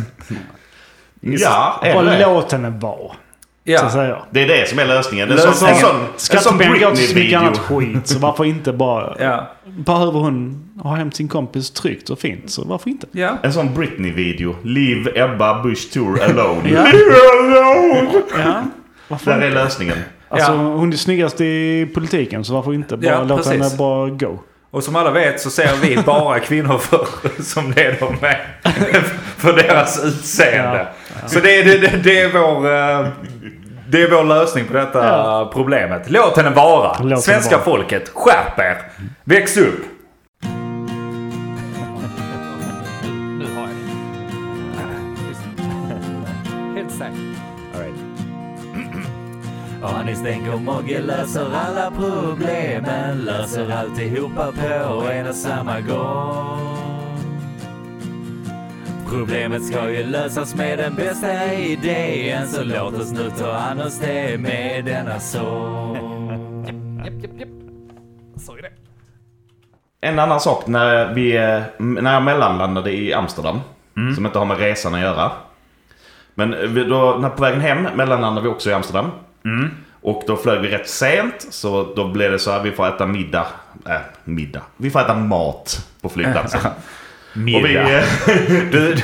B: Ja,
C: Bara
B: eller?
C: låt henne vara. Så
A: Ja.
C: säger jag.
B: Det är det som är lösningen. Det är en sån, en
A: Lösningen.
B: sån, en sån
C: Skattepengar går till så mycket
B: Britney-video.
C: annat skit. Så varför inte bara...
A: Ja.
C: Behöver hon ha hem sin kompis tryggt och fint så varför inte?
A: ja.
B: En sån Britney-video. Leave Ebba Busch Tour alone.
C: Ja.
B: Leave her alone!
C: Ja. Varför
B: Där
C: inte?
B: är lösningen.
C: Alltså,
A: Ja.
C: Hon är snyggast i politiken så varför inte bara
A: Ja,
C: låta
A: precis.
C: henne bara gå?
A: Och som alla vet så ser vi bara kvinnor för, som det de är. För deras utseende. Så det, är- det, det, det, är vår, eh, det är vår lösning på detta
C: Ja.
A: problemet. Låt henne vara.
C: Låt henne
A: Svenska
C: vara.
A: folket, skärp er. Väx upp.
E: Nu har jag det. Helt säkert. Anis Denk och Mogge löser alla problemen Löser alltihopa på en och samma gång Problemet ska ju lösas med den bästa idén Så låt oss nu ta an oss det med denna sång
B: En annan sak när, vi, eh, när jag mellanlandade i Amsterdam. Som inte har med resan att göra. Men vi, då, när på vägen hem mellanlandade vi också i Amsterdam. Och då flög vi rätt sent. Så då blev det så här, vi får äta middag. Äh, middag. Vi får äta mat på flygplatsen. Och vi,
A: Middag.
B: eh,
A: Du,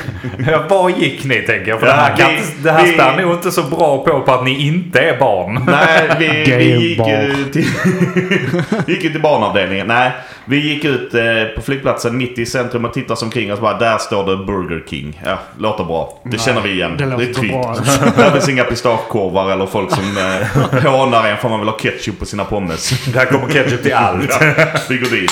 A: var gick ni tänker jag? För
B: Ja,
A: det här, kan,
B: vi-
A: inte- det här
B: vi-
A: stär nog inte så bra på, på att ni inte är barn.
B: Nej, vi, vi gick
C: Gaybar.
B: ut till, gick ut till barnavdelningen. Nej, vi gick ut eh, på flygplatsen mitt i centrum och tittade oss omkring och så bara där står det Burger King. Ja, låter bra. Det känner vi igen.
C: det låter
B: är tryggt.
C: bra. alltså.
B: Där finns inga pistagekorvar eller folk som eh, hånar en för man vill ha ketchup på sina pommes.
A: Där kommer ketchup till allt.
B: Vi går dit.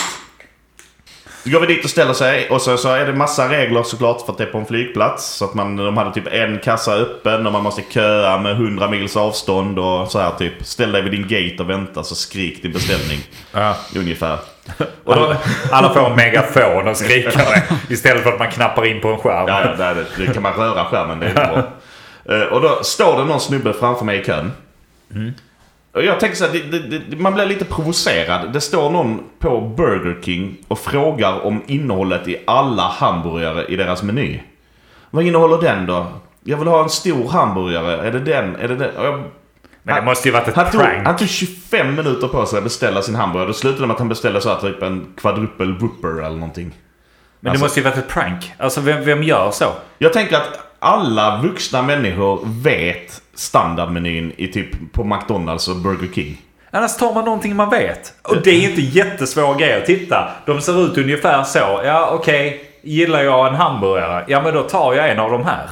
B: Så går vi dit och ställer sig och så, så är det massa regler såklart för att det är på en flygplats. Så att man, de hade typ en kassa öppen och man måste köa med 100 mils avstånd och så här typ. Ställ dig vid din gate och vänta så skrik din beställning.
A: Ja.
B: Ungefär. Och då,
A: Alla får en megafon och skriker istället för att man knappar in på en skärm.
B: ja, ja, där, det, det kan man röra skärmen, det är inte bra. Eh, Och då står det någon snubbe framför mig i kön. Och jag tänker så här, det, det, det, man blir lite provocerad. Det står någon på Burger King och frågar om innehållet i alla hamburgare i deras meny. Vad innehåller den då? Jag vill ha en stor hamburgare. Är det den? Är det den? Och jag,
A: Men det måste ju varit ett
B: han tog,
A: prank.
B: han tog 25 minuter på sig att beställa sin hamburgare. Det slutade med att han beställde så här, typ en quadruple whooper eller någonting.
A: Men det
B: Alltså-
A: måste ju varit ett prank. Alltså vem, vem gör så?
B: Jag tänker att alla vuxna människor vet standardmenyn i typ på McDonalds och Burger King.
A: Annars tar man någonting man vet. Och det är inte jättesvår grej att titta. De ser ut ungefär så. Ja, okej. Gillar jag en hamburgare? Ja, men då tar jag en av de här.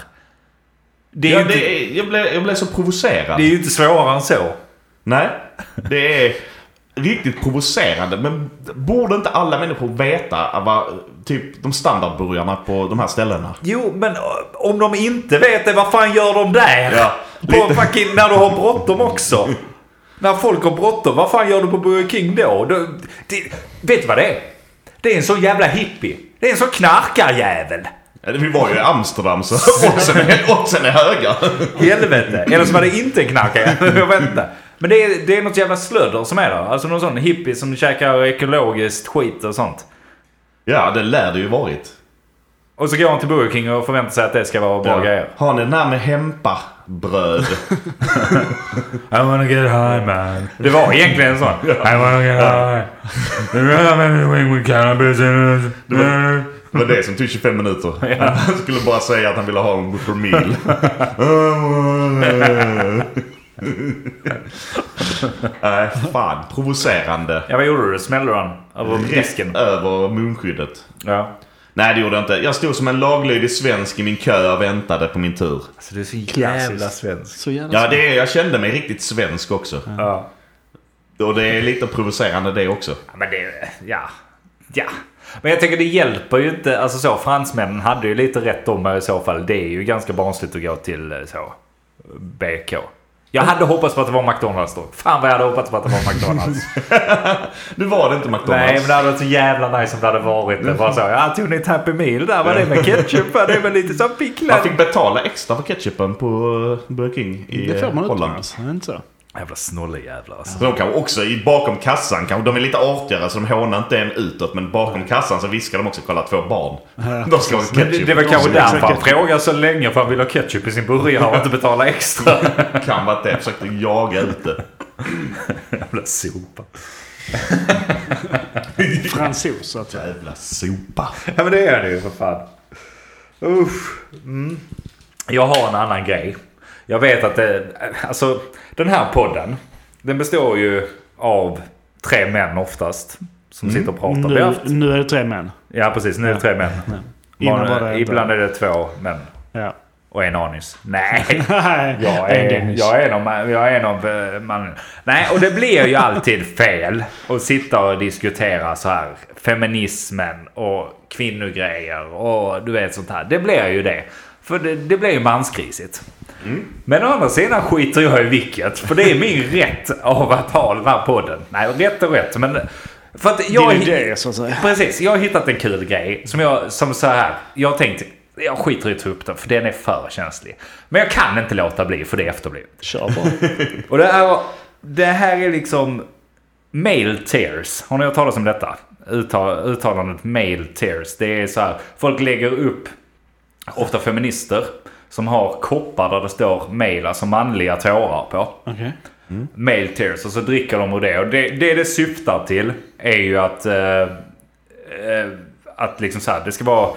A: Det är,
B: Ja,
A: ju, inte,
B: det är, jag, blev, jag blev så provocerad.
A: det är ju inte svårare än så.
B: Nej, det är riktigt provocerande. Men borde inte alla människor veta vad typ de standardburgarna på de här ställena?
A: Jo, men ö, om de inte vet det, vad fan gör de där?
B: Ja,
A: på fucking, när du har bråttom också. när folk har bråttom, vad fan gör du på Burger King då? Du, det, vet du vad det är? Det är en sån jävla hippie. Det är en sån knarkarjävel.
B: Ja, Vi var ju i Amsterdam så oddsen är, oddsen är höga.
A: Helvete. Eller så var det inte en knarkarjävel. Jag vet inte. Men det är, det är något jävla slödder som är där. Alltså någon sån hippie som käkar ekologiskt skit och sånt.
B: Ja, det lär det ju varit.
A: Och så går han till Burger King och förväntar sig att det ska vara bra grejer.
B: Har ni den här med hempabröd?
A: I wanna get high man. Det var egentligen en sån. I wanna get high.
B: Det var det som tog 25 minuter. Han skulle bara säga att han ville ha en Whopper meal. Nej, fan. Provocerande.
A: Ja, vad gjorde du? Smällde du han över disken?
B: Över munskyddet.
A: Ja.
B: Nej, det gjorde jag inte. Jag stod som en laglydig svensk i min kö och väntade på min tur.
A: Alltså du är så
C: Klassiskt.
A: svensk.
C: Så gärna
B: Ja, det, jag kände mig riktigt svensk också.
A: Ja.
B: Och det är lite provocerande det också.
A: Men det, ja. Ja, men jag tänker det hjälper ju inte. Alltså så, fransmännen hade ju lite rätt om mig i så fall. Det är ju ganska barnsligt att gå till eh, så, BK. Jag hade hoppats på att det var McDonalds då. Fan vad jag hade hoppats på att det var McDonalds.
B: Nu var det inte McDonalds.
A: Nej, men det hade varit så jävla nice om det hade varit det. Bara så, ja, tog ni ett Happy Meal där? Var det med ketchup? Ja, Det är väl lite som picklad?
B: Man fick betala extra för ketchupen på eh, Burger King i
C: Det får man
B: eh, Holland.
C: utomlands. Är det inte så?
A: Jävla snolljävlar alltså.
B: Så de kanske också i, bakom kassan, kanske, de är lite artigare så de hånar inte en utåt. Men bakom kassan så viskar de också kolla två barn. De ska ha
A: Men det,
B: ketchup.
A: det var kanske
C: Ketchup.
A: därför han frågade så länge. För han ville ha ketchup i sin burgare och inte betala extra.
B: kan vara att det. Jag försökte jaga ut det.
A: Jävla sopa.
C: Fransos så att säga.
B: Jävla sopa.
A: Ja men det är det ju för fan. Usch. Mm. Jag har en annan grej. Jag vet att det, alltså den här podden. Den består ju av tre män oftast. Som sitter och pratar. Vi har
C: Nu,
A: haft-
C: nu är det tre män.
A: Ja precis, nu är det tre män.
C: Innan
A: Var-
C: var det en
A: ibland är det två män.
C: Ja.
A: Och en anis. Nej. Jag
C: En
A: är,
C: Dennis.
A: jag är någon, man- jag är någon eh, man. Nej, och det blir ju alltid fel att sitta och diskutera så här feminismen och kvinnogrejer och du vet sånt här. Det blir ju det. För det, det blir ju manskrisigt.
C: Mm.
A: Men å andra sidan skiter jag i vilket. För det är min rätt av att ha den här podden. Nej, rätt och rätt. Men för att jag...
C: Din idé så att säga.
A: Precis, jag har hittat en kul grej som jag, som så här, jag har tänkt, jag skiter i att ta upp den för den är för känslig. Men jag kan inte låta bli för det är efterblivet.
C: Kör bara.
A: Och det här, det här är liksom male tears. Har ni hört talas om detta? Uttal, uttalandet male tears. Det är så här, folk lägger upp, ofta feminister, som har koppar där det står male, alltså manliga tårar på
C: Okej.
A: male tears och så dricker de ur det. Och det, det det syftar till är ju att... Eh, eh, att liksom så här, det ska vara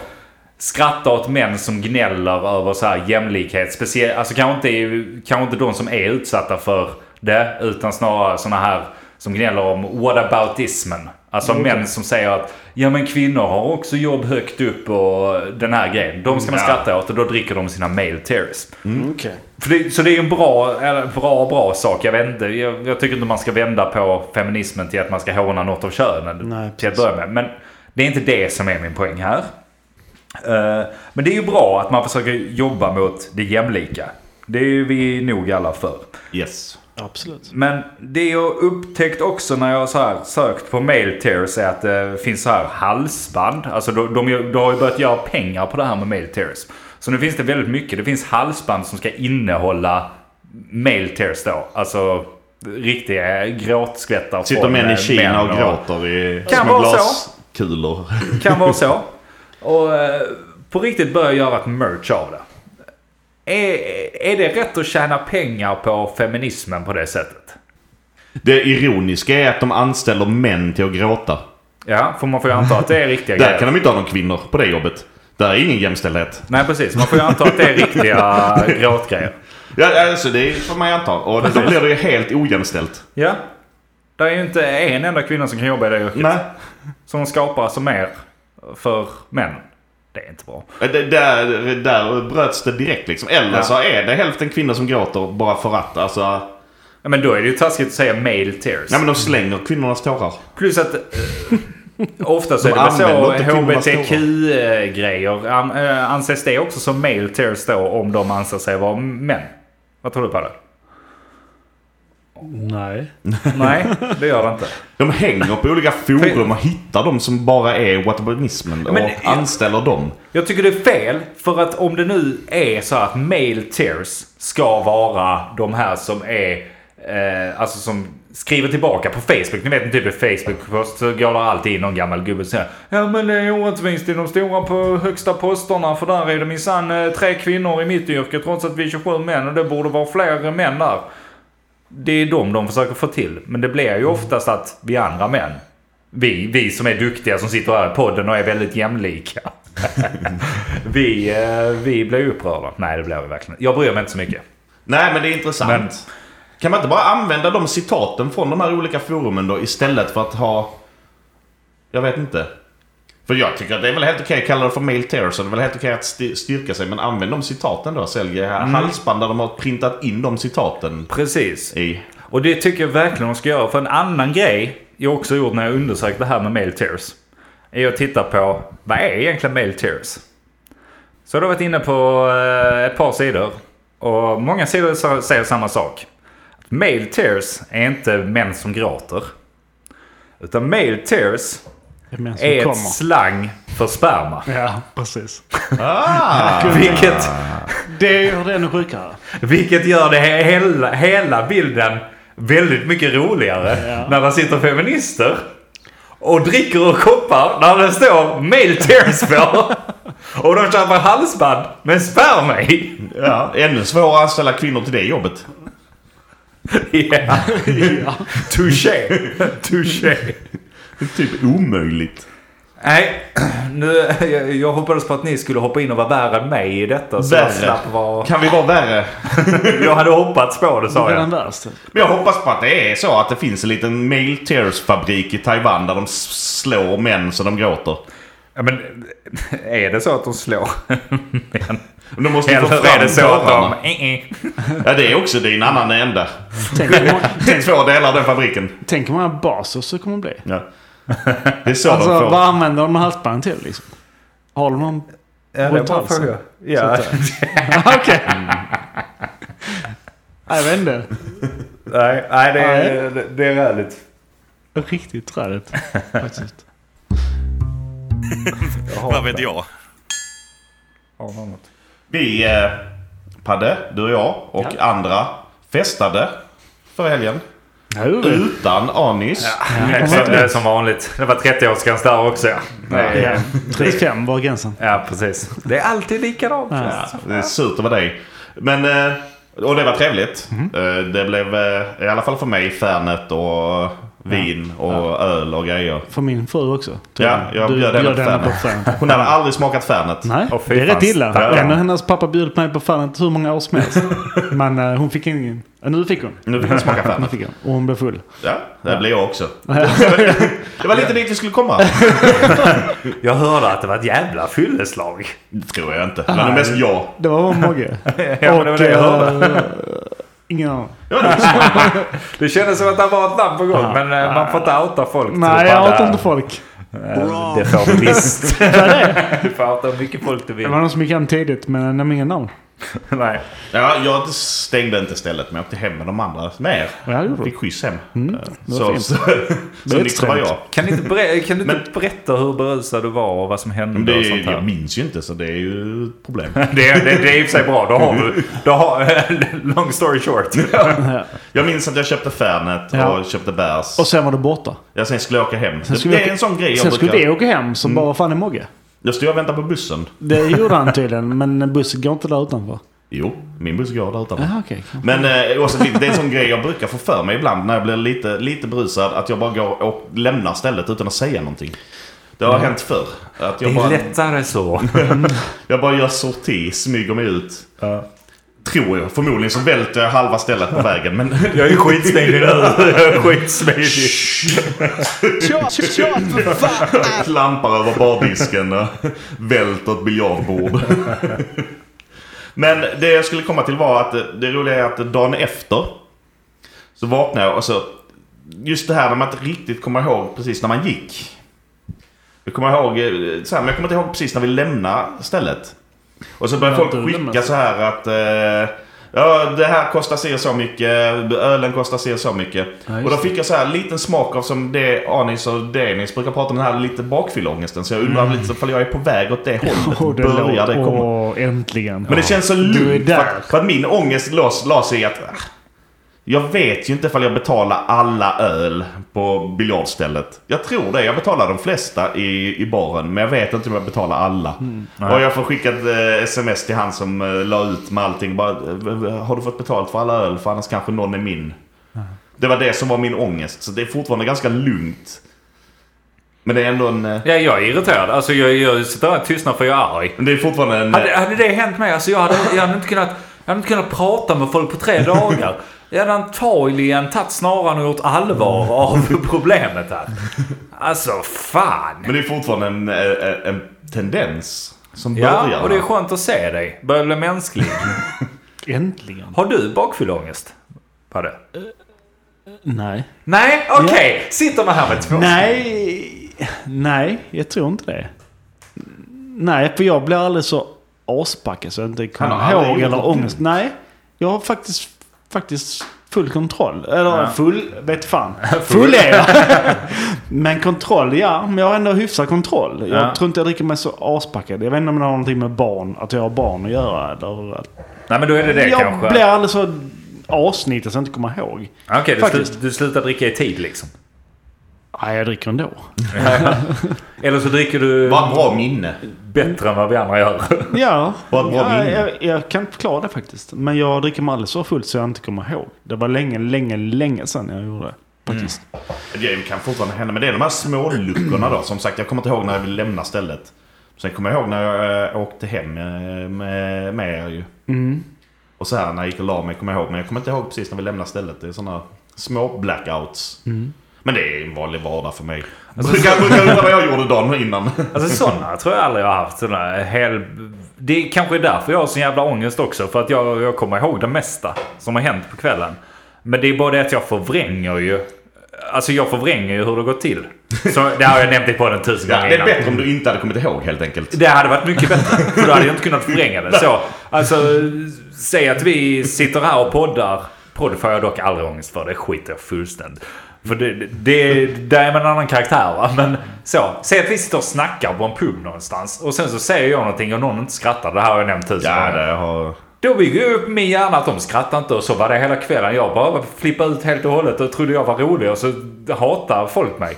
A: skratta åt män som gnäller över så här jämlikhet. Speciellt, alltså kanske inte, kanske inte de som är utsatta för det, utan snarare såna här som gnäller om whataboutismen. Alltså män som säger att ja men kvinnor har också jobb högt upp och den här grejen. De ska man
B: Ja.
A: skratta åt och då dricker de sina male tears.
C: Okej.
A: För det, så det är ju en bra, eller bra, bra sak. Jag, vet inte, jag, jag tycker inte man ska vända på feminismen till att man ska håna något av könen.
C: Nej,
A: till att börja med. Men det är inte det som är min poäng här. Eh, men det är ju bra att man försöker jobba mot det jämlika. Det är ju vi nog alla för.
B: Yes.
C: Absolut.
A: Men det jag upptäckt också när jag så här sökt på mail tears är att det finns så här halsband. Alltså de, de, de har ju börjat göra pengar på det här med mail tears. Så nu finns det väldigt mycket. Det finns halsband som ska innehålla mail tears då. Alltså riktiga gråtskvättar.
B: Sitter
A: från,
B: män
A: eh,
B: Typ i Kina
A: män
B: och gråter i
A: Kan
B: små
A: vara så.
B: glaskulor.
A: Kan vara så. Och eh, på riktigt börja göra ett merch av det. Är, är det rätt att tjäna pengar på feminismen på det sättet?
B: Det ironiska är att de anställer män till att gråta.
A: Ja, för man får ju anta att det är riktiga
B: Där kan de inte ha någon kvinnor på det jobbet. Där är ingen jämställdhet.
A: Nej precis, man får ju anta att det är riktiga gråtgrejer.
B: Ja, alltså det får man ju anta. Och då blir det ju helt ojämställt.
A: Ja. Det är ju inte en enda kvinna som kan jobba i det yrket.
B: Nej.
A: Som skapar som mer för män. Det är inte bra.
B: Eh, Det, där, där bröts det direkt liksom. Eller så är det hälften kvinnor som gråter bara för att. Alltså,
A: Ja, men då är det ju taskigt att säga male tears.
B: nej men de slänger kvinnornas tårar.
A: Plus att eh, ofta så
B: De
A: är det väl så
B: använder inte kvinnornas
A: HBTQ-grejer. An, eh, anses det också som male tears då om de anser sig vara män? Vad tror du på det?
C: Nej.
A: Nej, det gör det inte.
B: De hänger på olika forum och hittar de som bara är whataboutismen och
A: Men-
B: anställer dem.
A: Jag tycker det är fel, för att om det nu är så att male tears ska vara de här som är, eh, alltså som skriver tillbaka på Facebook. Ni vet en typ av Facebook-post så går det alltid in någon gammal gubbe och säger Ja men det är orättvist i de stora på högsta posterna för där är det minsann eh, tre kvinnor i mitt yrke trots att vi är 27 män och det borde vara fler män där. Det är de de försöker få till. Men det blir ju oftast att vi andra män, vi, vi som är duktiga som sitter här i podden och är väldigt jämlika. Vi, eh, vi blir upprörda. Nej, det blir vi verkligen inte. Jag bryr mig inte så mycket.
B: Nej, men det är intressant.
A: Men-
B: Kan man inte bara använda de citaten från de här olika forumen då istället för att ha... Jag vet inte. För jag tycker att det är väl helt okej att kalla det för male terror, så det är väl helt okej att sti- styrka sig. Men använd de citaten då. Sälj
A: Mm.
B: halsband där de har printat in de citaten
A: Precis.
B: i.
A: Och det tycker jag verkligen de ska göra. För en annan grej jag också gjort när jag undersökt det här med mail tears. är att titta på vad är egentligen male tears? Så jag har varit inne på eh, ett par sidor och många sidor sa- säger samma sak. Male tears är inte män som gråter. Utan male tears
C: Vem är det som
A: är ett
C: kommer?
A: slang för sperma.
C: Ja, precis.
B: Ah!
A: Vilket,
C: Det gör det ännu sjukare.
A: vilket gör det he- hela, hela bilden väldigt mycket roligare.
C: Ja.
A: När det sitter feminister och dricker ur koppar när det står male tears på. och de köper halsband med sperma i.
B: Ja, ännu svårare att anställa kvinnor till det jobbet.
A: Ja. Touché. Touché.
B: Typ omöjligt.
A: Nej, nu, jag, jag hoppades på att ni skulle hoppa in och vara värre än mig i detta. Så jag
B: Värre.
A: slapp vara...
B: Kan vi vara värre?
A: Jag hade hoppats på det sa
C: Det är den
A: jag.
C: värsta.
B: Men jag hoppas på att det är så att det finns en liten male tears fabrik i Taiwan där de s- slår män så de gråter.
A: Ja, men är det så att de slår?
B: Men De måste ju få
A: Eller är
B: fram
A: det så att de... Eh,
B: tårarna. Ja, det är också. Det är en annan ända.
C: Tänk hur många-
B: Det är två delar av den fabriken.
C: Tänk hur många baser det kommer att bli.
B: Ja. Det är så
C: Alltså,
B: de får.
C: vad använder de halsbanden till liksom? Har de någon...
A: Ja, det
C: Runt
A: är bara
C: halsen.
A: fråga. Ja.
C: Okej. Jag vet inte.
A: Nej, nej, det är, det- det är räligt.
C: Riktigt trädigt faktiskt.
A: Jag
D: Vad
A: har
D: vet jag?
A: har något.
B: Vi, eh, Padde, du och jag och andra festade för helgen.
C: Ja, det är det.
B: Utan anis.
A: Nej, så det är som vanligt. Det var 30-årsgräns där också. Ja. Nej.
C: Ja, 35 var gränsen.
A: ja, precis. Det är alltid likadant.
C: Ja.
A: känns det som.
B: Alltså, Det är surt att vara dig. Men, eh, och det var trevligt.
C: Mhm.
B: Eh, Det blev, eh, i alla fall för mig, Fernet och vin och öl och grejer.
C: För min fru också. tror
B: Ja, jag bjöd henne på
C: Fernet.
B: Hon hade aldrig smakat Fernet.
C: Nej,
A: Och fy
C: det är
A: fan,
C: rätt illa.
A: stackarn.
C: En av hennes pappa bjöd mig på Fernet hur många år som helst. Men eh, hon fick ingen. Eh, Nu fick hon.
B: Nu fick hon smaka
C: Nu
B: Fernet.
C: fick hon. Och hon blev full.
B: Ja, det blev jag också. Det var lite dit vi skulle komma.
A: Jag hörde att det var ett jävla fylleslag.
B: Det tror jag inte. Men det mest jag.
C: Det var vår Mogge.
A: Ja, men det var det jag hörde.
C: Ingen aning.
A: Det kändes som att det var ett namn på gång, men eh, man får inte outa folk.
C: Nej,
A: tror
C: jag
A: det.
C: hatar inte folk.
A: Eh, Det får du visst. du får outa hur mycket folk du
C: Det
A: vill.
C: var någon som gick hem tidigt, men eh, jag nämnde inga namn.
A: Nej.
B: Ja, jag stängde inte stället men jag åkte hem med de andra. Med er.
C: Ja, det gjorde du.
B: Fick skjuts hem. Eh,
C: Mm, var
B: så
C: fint.
B: så, så
C: är
B: nykter var
C: extremt.
B: jag.
A: Kan du inte, berä- kan du inte berätta hur berusad du var och vad som hände
B: Men det,
A: och sånt
B: är-
A: här?
B: jag minns ju inte så det är ju ett problem.
A: Det, det, det är i och för sig bra. Då har du... Då har, long story short.
B: Jag minns att jag köpte Fernet
C: Ja.
B: och köpte bärs.
C: Och sen var du borta.
B: Ja, sen skulle jag åka hem. Det,
C: skulle
B: det
C: jag-
B: är en sån grej jag
C: Sen skulle
B: brukar...
C: det åka hem, så bara fan är Mogge?
B: Då stod jag och väntade på bussen.
C: Det gjorde han tydligen, men bussen går inte där utanför.
B: Jo, min buss går där utanför.
C: Jaha, okej.
B: Men eh, också, lite- det är en sån grej jag brukar få för mig ibland när jag blir lite, lite brusad. Att jag bara går och lämnar stället utan att säga någonting. Det har hänt förr. Att
A: Det
B: jag,
A: är
B: bara,
A: lättare så.
B: jag bara gör sorti, smyger mig ut. Tror jag. Förmodligen så välter jag halva stället på vägen. Men
A: Jag är skitsmidig nu. Jag är skitsmidig.
B: klampar över bardisken och välter ett biljardbord. Men det jag skulle komma till var att det- det roliga är att dagen efter så vaknade jag och så... Just det här när man inte riktigt kommer ihåg precis när man gick. Jag kommer ihåg, eh, så här, men jag kommer inte ihåg precis när vi lämnade stället. Och så började
C: Ja,
B: folk
C: du lämnade
B: skicka så här att... Eh, ja, det här kostar si och så mycket. Ölen kostar si och så mycket.
C: Ja, just
B: och då
C: det.
B: fick jag så här liten smak av som det Anis och Denis brukar prata om den här lite bakfylleångesten. Så jag undrar lite ifall jag är på väg åt det hållet.
C: Åh, Mm. det
B: börjar det
C: låter-
B: komma.
C: Åh, äntligen.
B: Men det känns så
C: är
B: lugnt. För,
C: där.
B: att- för att min ångest lås, la sig i att... ah, Jag vet ju inte ifall jag betalar alla öl på biljardstället. Jag tror det. Jag betalar de flesta i, i baren. Men jag vet inte om jag betalar alla.
C: Mm.
B: Och jag får skicka ett eh, sms till han som eh, la ut med allting. Bara, eh, har du fått betalt för alla öl? För annars kanske någon är min. Det var det som var min ångest. Så det är fortfarande ganska lugnt. Men det är ändå en... eh,
A: Ja, jag är irriterad. Alltså, jag, jag sitter här och tystnar för jag är arg.
B: Men det är fortfarande en...
A: Hade, hade det hänt mig, alltså jag hade, jag, hade inte kunnat, jag hade inte kunnat prata med folk på tre dagar. Jag hade antagligen tagit snaran och gjort allvar av problemet här. Alltså fan.
B: Men det är fortfarande en, eh, en tendens som
A: Ja,
B: börjar.
A: och det är skönt att se dig. Börjar bli mänsklig.
C: Äntligen.
A: Har du bakfylleångest? Padde?
C: Nej.
A: Nej, okej. Sitter man här med två
C: Nej, Nej, jag tror inte det. Nej, för jag blir aldrig så aspackad så jag inte
B: Han har
C: kommer
B: aldrig
C: ihåg
B: gjort
C: eller
B: något
C: ångest. Nej, jag har faktiskt, faktiskt full kontroll. Eller full, vet fan. Full är jag. men kontroll, ja. Men jag har ändå hyfsad kontroll. Jag
A: Ja.
C: tror inte jag dricker mig så aspackad. Jag vet inte om det har någonting med barn, att jag har barn att göra. Eller att...
A: Nej men då är det det
C: jag
A: kanske.
C: blir aldrig så asnitig så jag inte kommer ihåg.
A: Ah, Okej, du,
C: Faktiskt.
A: slu- du slutar dricka i tid liksom.
C: Nej, jag dricker ändå.
A: Eller så dricker du
B: Vad bra minne.
A: bättre än vad vi andra gör.
C: Ja,
B: Vad bra
C: ja
B: minne.
C: jag, jag kan inte förklara det faktiskt. Men jag dricker mig aldrig så fullt så jag inte kommer ihåg. Det var länge, länge, länge sedan jag gjorde det. Faktiskt.
B: Det kan fortfarande hända, men det är de här små luckorna då. Som sagt, jag kommer inte ihåg när jag ville lämna stället. Sen kommer jag ihåg när jag eh, åkte hem eh, med, med er ju.
A: Mm.
B: Och så här när jag gick och la mig kommer jag ihåg. Men jag kommer inte ihåg precis när vi lämnade stället. Det är sådana små blackouts.
A: Mm.
B: Men det är en vanlig vardag för mig. brukar, brukar undra vad jag gjorde dagen innan.
A: Alltså sådana tror jag aldrig jag har haft. Såna hel... Det är kanske är därför jag har sån jävla ångest också. För att jag, jag kommer ihåg det mesta som har hänt på kvällen. Men det är bara det att jag förvränger ju. Alltså jag förvränger ju hur det gått till. Så, det har jag nämnt i podden tusen
B: Ja,
A: gånger
B: det är
A: innan.
B: bättre om du inte hade kommit ihåg helt enkelt.
A: Det hade varit mycket bättre. För då hade jag inte kunnat förvränga det. Så, alltså, säg att vi sitter här och poddar. Podd får jag dock aldrig ångest för. Det skiter jag fullständigt. För det, det, där är man en annan karaktär va. Men så, säg att vi sitter och snackar på en pub någonstans. Och sen så säger jag någonting och någon inte skrattar. Det här har jag nämnt tusen
B: Ja,
A: gånger.
B: det har...
A: Då bygger jag upp min hjärna att de skrattar inte och så var det hela kvällen. Jag bara flippade ut helt och hållet och trodde jag var rolig och så hatar folk mig.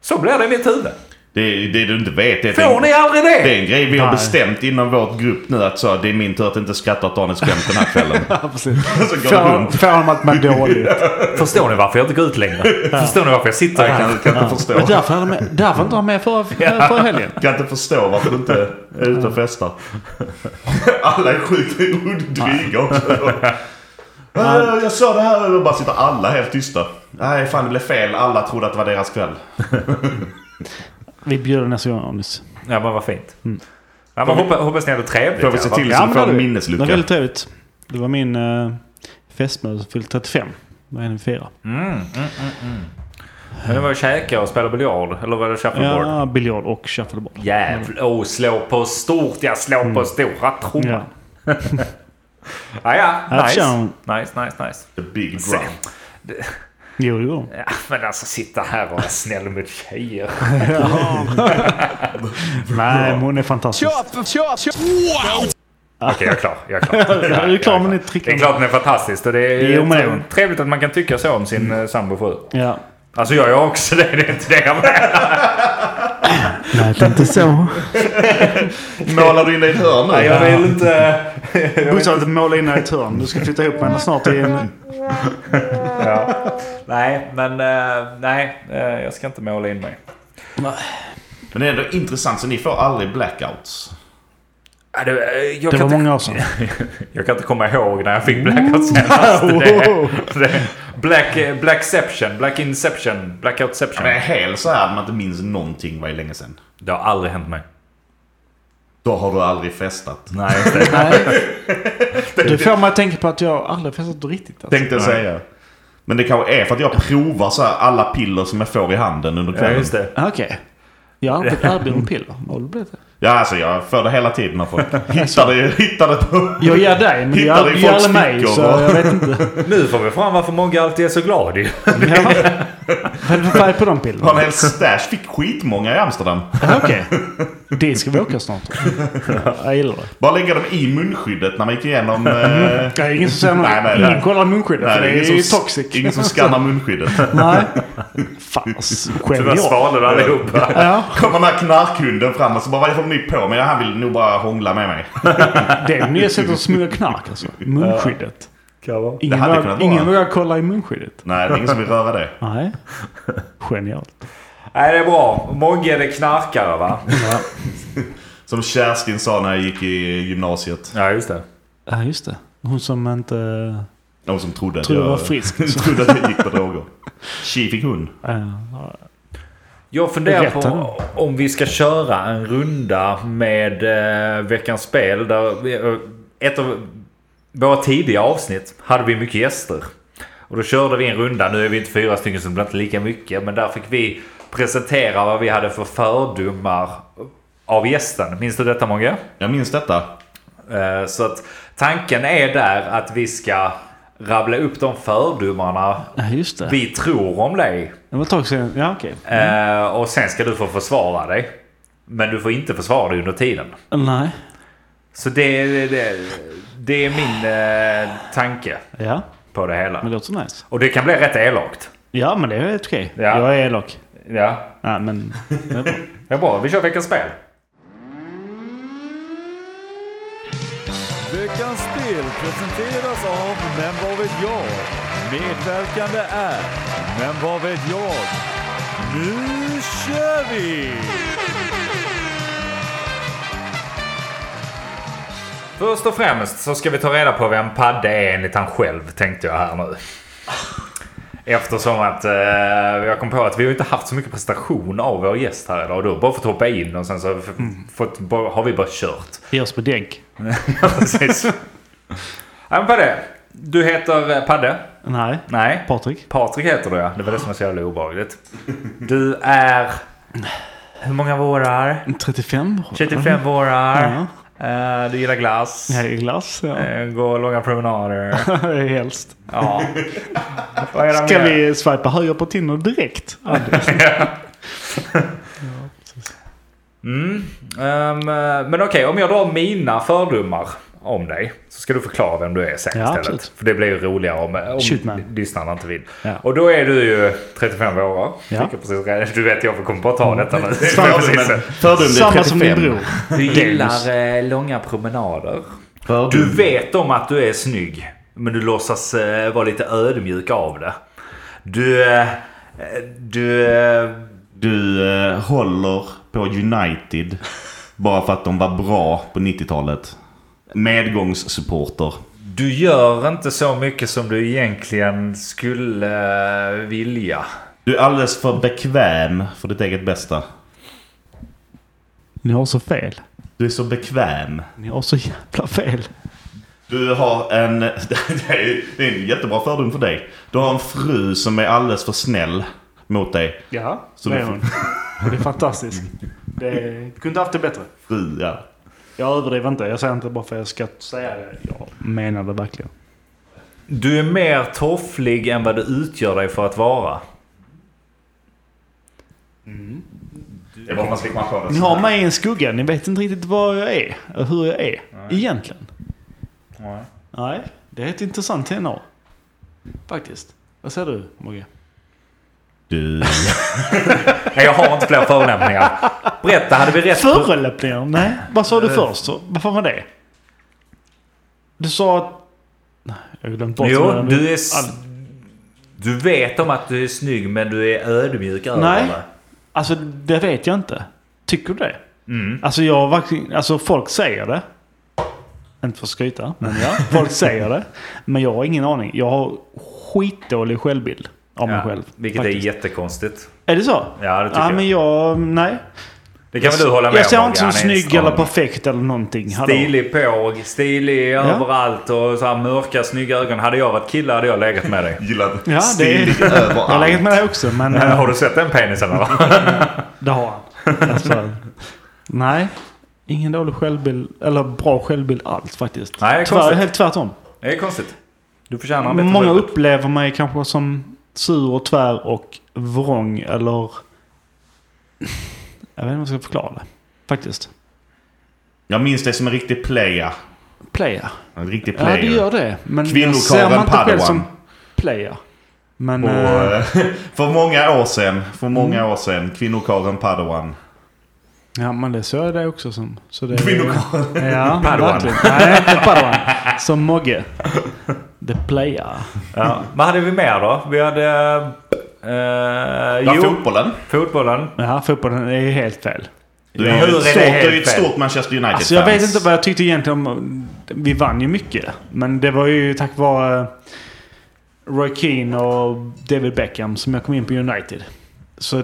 A: Så blir det i mitt huvud.
B: Det, det du inte vet det är
A: Får ni aldrig det?
B: Det är en grej vi har bestämt inom vårt grupp nu att så, det är min tur att inte skratta åt Daniels skämt den här kvällen.
C: Ja, precis.
B: Så går det
C: Får
B: runt.
C: får honom att må dåligt.
A: Förstår ni varför jag inte går ut längre? Förstår ni varför jag sitter
B: Jag
A: här?
B: kan, kan inte förstå.
C: Men därför, hade med, därför inte han med förra, förra helgen.
B: Jag kan inte förstå varför du inte är ute och festar. Alla är sjukt dryga också. Äh, Jag sa det här och bara sitter alla helt tysta. Nej, fan det blev fel. Alla trodde att det var deras kväll.
C: Vi bjuder nästa gång, Anis.
A: Ja, men vad fint.
C: Mm.
A: Ja, men hoppas, hoppas ni hade trevligt.
B: Får vi
A: i
B: se
A: alla fall.
B: till så vi
C: men det
B: får
C: hade
B: en
C: vi. Det
B: minneslucka.
C: var väldigt trevligt. Det var min uh, fästmö som fyllde 35. Vad är den fyra?
A: Men det var ju käka och spela biljard. Eller var det shuffleboard?
C: Ja, biljard och shuffleboard.
A: Jävlar. Oh, slå på stort. Jag slår på stora trumman.
C: Mm. Ja.
A: Ja, ja.
C: Ja,
A: Nice.
C: tja.
A: nice, nice, nice.
B: The big ground.
C: Jo, det gjorde hon.
A: Ja, men alltså sitta här och vara snäll mot tjejer.
C: Nej, men hon är fantastisk.
A: Okej, jag är klar. Jag är klar.
C: Ja, du är klar med ditt
A: Det är
C: trick.
A: klart den är fantastisk. Och det är
C: Jo, men det är hon.
A: trevligt att man kan tycka så om sin mm. sambo fru.
C: Ja.
A: Alltså jag gör också det. Det är inte det jag menar.
C: Nej, det är inte så.
B: Målar du in dig i ett hörn nu?
A: Jag vill inte...
C: Bosse har inte målat in henne i ett hörn. Du ska flytta ihop med henne snart i en...
A: Nej, men eh, nej. eh, jag ska inte måla in mig.
B: Men det är ändå intressant, så ni får aldrig blackouts.
A: Ja, det, eh, jag,
C: Det
A: kan inte,
C: var många Mm. år sedan.
A: jag kan inte komma ihåg när jag fick blackout senast. Det, det, black, eh, blackception, black inception, blackoutception.
B: Men är hel så här att man inte minns någonting var ju länge sedan.
A: Det har aldrig hänt mig.
B: Då har du aldrig festat.
A: Nej, just det.
C: Det får mig att tänka på att jag aldrig festat riktigt. Alltså.
B: Tänkte jag säga. Men det kanske är för att jag provar så här alla piller som jag får i handen under
A: Ja,
B: kvällen.
A: just det.
C: Ah, Okej. Jag har inte erbjudit piller. Har du blivit det?
B: Ja, alltså jag för det hela tiden av folk. Hittar det, hittar det på...
C: Jag ger dig, men du
B: Hittar
C: ger
B: i
C: ger
B: folks
C: aldrig mig.
B: fickor,
C: Så
B: va?
C: jag vet inte.
A: Nu får vi fram varför Mogge alltid är så glad ju.
C: Ja. Vad är det för färg på de
B: Har en
C: pillerna?
B: hel stash. Fick skitmånga i Amsterdam.
C: Ah, Okej. Det ska vi åka snart. Jag gillar det.
B: Bara lägga dem i munskyddet när man gick igenom... Eh, nej,
C: Det är ingen som säger något.
B: Nej, nej, nej.
C: Ingen kollar munskyddet. för det är ju
B: som,
C: toxic.
B: ingen som skannar munskyddet.
C: Nej. Fan,
A: Tyvärr
C: genialt.
A: svalade allihopa.
C: Ja,
B: Kommer den här knarkhunden fram och så bara vad håller ni på med? Ja, Han vill nog bara hångla med mig.
C: det är det nya sättet att smugga knark alltså. Munskyddet. Ingen,
B: hade
C: vågar,
B: kunnat vara.
C: ingen vågar kolla i munskyddet.
B: Nej, det är ingen som vill röra det.
C: Nej. Genialt.
A: Nej, det är bra. Mogge är det knarkare va?
B: Som Kerstin sa när jag gick i gymnasiet.
A: Ja, just det.
C: Ja, just det. Hon som inte...
B: Någon som trodde att
C: Tror jag var
B: jag...
C: frisk.
B: trodde att jag gick på droger. Tji fick hon.
C: eh,
A: Jag funderar
C: Rätta
A: på om vi ska köra en runda med eh, veckans spel. Där vi, eh, ett av våra tidiga avsnitt hade vi mycket gäster. Och då körde vi en runda. Nu är vi inte fyra stycken så det blir inte lika mycket. Men där fick vi presentera vad vi hade för fördomar av gästen. Minns du detta Mogge?
B: Jag minns detta.
A: Eh, Så att tanken är där att vi ska rabbla upp de fördomarna
C: Ja, just det.
A: vi tror om dig.
C: Det var ett tag sedan. Ja, okej.
A: Eh, Och sen ska du få försvara dig. Men du får inte försvara dig under tiden.
C: Nej.
A: Så det är, det, det är min eh, tanke
C: Ja,
A: på det hela.
C: men det låter nice.
A: Och det kan bli rätt elakt.
C: Ja, men det är helt okej.
A: Ja.
C: Jag är elak.
A: Ja,
C: Nej, men det är bra.
A: det är bra. Vi kör veckans spel.
E: Veckans spel presenteras av Men vad vet jag? Medverkande är Men vad vet jag? Nu kör vi!
A: Först och främst så ska vi ta reda på vem Padde är enligt han själv tänkte jag här nu. Eftersom att eh, jag kom på att vi har ju inte haft så mycket presentation av vår gäst här idag. Du har bara fått hoppa in och sen så har vi f-
C: Mm.
A: fått, bara- har vi bara kört.
C: Vi görs på dägg.
A: Ja, Precis. Ja, men Padde. Du heter eh, Padde?
C: Nej.
A: Nej.
C: Patrik.
A: Patrik heter du ja. Det var det som var så jävla obehagligt. Du är... Hur många vårar?
C: 35?
A: 35
C: Ja.
A: vårar. Eh, du gillar glass.
C: Jag är glass. Ja.
A: Eh, Gå långa promenader.
C: Helst.
A: Ja. Vad är det
C: Ska
A: mer?
C: vi swipa höger på Tinder direkt?
A: Mm. Ehm, eh, men okej, om jag drar mina fördomar om dig. Så ska du förklara vem du är sen
C: Ja,
A: istället.
C: absolut.
A: För det blir ju roligare om, om
C: Shoot, man.
A: lyssnarna inte vill.
C: Ja.
A: Och då är du ju 35 år.
C: Ja. Mm.
A: Vilket precis, rätt- du vet, jag kommer bara ta detta nu.
B: Fördomen, fördomen
C: Samma som din bror.
A: Du eh,
C: gillar,
A: långa promenader. Du vet om att du är snygg. Men du låtsas eh, vara lite ödmjuk av det. Du... eh, Du... eh,
B: Du eh, håller på United bara för att de var bra på 90-talet. Medgångssupporter.
A: Du gör inte så mycket som du egentligen skulle eh, vilja.
B: Du är alldeles för bekväm för ditt eget bästa.
C: Ni har så fel.
B: Du är så bekväm.
C: Ni har så jävla fel.
B: Du har en... Det är ju- det är en jättebra fördom för dig. Du har en fru som är alldeles för snäll mot dig.
C: Ja,
B: Så
C: så
B: vi
C: det är
B: får-
C: hon. Det är fantastiskt. Det är... Kunde inte haft det bättre.
B: Fru, ja.
C: Jag överdriver inte. Jag säger inte bara för att jag ska säga det. Jag menar det verkligen.
A: Du är mer tofflig än vad du utgör dig för att vara.
B: Det var man fick man på
C: Ni har mig i en skugga. Ni vet inte riktigt vad jag är. och Hur jag är. Egentligen.
A: Nej.
C: Nej, det är ett intressant tenor. Faktiskt. Vad säger du, Mogge?
B: Du...
A: Nej, jag har inte fler förolämpningar. Berätta, hade vi rätt? på-
C: Förolämpningar? Nej. Vad sa du
A: Eh.
C: först? Så, Vad fan var det? Du sa att... Nej, jag har glömt bort
A: Jo,
C: vad jag-
A: du är... s- Du vet om att du är snygg men du är ödmjuk över
C: Nej.
A: det.
C: Alltså, det vet jag inte. Tycker du det?
A: Mm.
C: Alltså, jag har verkligen... Alltså, folk säger det. Inte för att skryta, men ja. Folk säger det. Men jag har ingen aning. Jag har skitdålig självbild av mig
A: Ja,
C: själv.
A: vilket
C: faktiskt.
A: är jättekonstigt.
C: Är det så?
A: Ja, det tycker
C: ja,
A: jag.
C: men jag... Nej.
A: Det kan väl du hålla med
C: Jag
A: om?
C: ser
A: Morgan?
C: inte som
A: Han är en
C: snygg
A: stram-
C: eller perfekt eller någonting. Hallå.
A: Stilig påg, stilig överallt och så här mörka snygga ögon. Hade jag varit kille hade jag legat med dig.
B: Gillar
C: Ja, det är...
B: stilig
C: Jag har legat
B: överallt.
C: med det också, men eh,
A: Har du sett den penisen eller?
C: det har han. Alltså, nej. Ingen dålig självbild, eller bra självbild alls faktiskt.
A: Nej, det är
C: Tvär,
A: konstigt.
C: helt tvärtom.
A: Det är konstigt. Du förtjänar en bättre
C: Många
A: självbild.
C: upplever mig kanske som sur och tvär och vrång eller... Jag vet inte hur jag ska förklara det. Faktiskt.
B: Jag minns dig som en riktig player.
C: Player.
B: En riktig
C: Ja,
B: player.
C: det gör det. Men jag ser man
B: Kvinnokarlen
C: inte själv som
B: Padawan.
C: player. Men...
B: Och,
C: eh,
B: eh, för många år sedan, för många
C: Mm.
B: år sedan, kvinnokarlen Padawan.
C: Ja, men det ser jag det också som. Så det,
B: Kvinnokarlen.
C: Ja,
A: Padawan.
C: verkligen. Nej, inte Padawan. Som Mogge. The player.
A: Ja. Vad hade vi mer då? Vi hade... Eh,
B: Ja,
A: jo,
B: fotbollen.
A: fotbollen.
C: Ja, fotbollen är ju helt fel.
B: Du
A: Ja,
B: är ju
A: hur är
B: ett
A: det
B: stort,
A: helt
B: du är ju ett
A: fel?
B: stort Manchester United-fan.
C: Alltså jag vet inte vad jag tyckte egentligen om... Vi vann ju mycket. Men det var ju tack vare eh, Roy Keane och David Beckham som jag kom in på United. Så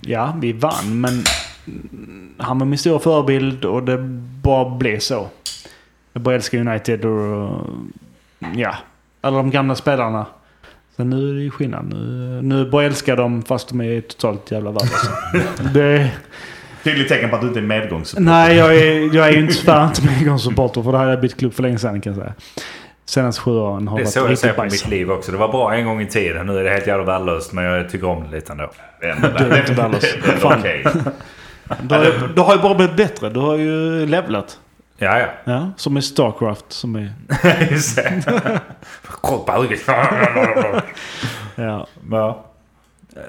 C: ja, vi vann. Men han var min stora förebild och det bara blev så. Jag bara älskar United och ja, alla de gamla spelarna. Men nu är det ju skillnad. Nu, nu bara älskar de fast de är totalt jävla värdelösa. det,
B: Tydligt tecken på att du inte är medgångssupporter.
C: nej, jag är, jag är ju inte fan inte medgångssupporter för då hade jag bytt klubb för länge sedan kan jag säga. Senaste sju åren har
A: Det är så
C: varit
A: jag ser
C: riktigt
A: på
C: bajs.
A: mitt liv också. Det var bra en gång i tiden. Nu är det helt jävla värdelöst. Men jag tycker om det lite ändå.
B: Det är ändå
C: Du är inte värdelös. Fan.
B: Okej.
C: Du har, ju- du har ju bara blivit bättre. Du har ju levlat.
A: Ja, ja.
C: Ja, som i Starcraft. Som är,
A: Just det. Kort på ögat.
C: ja.
A: Ja.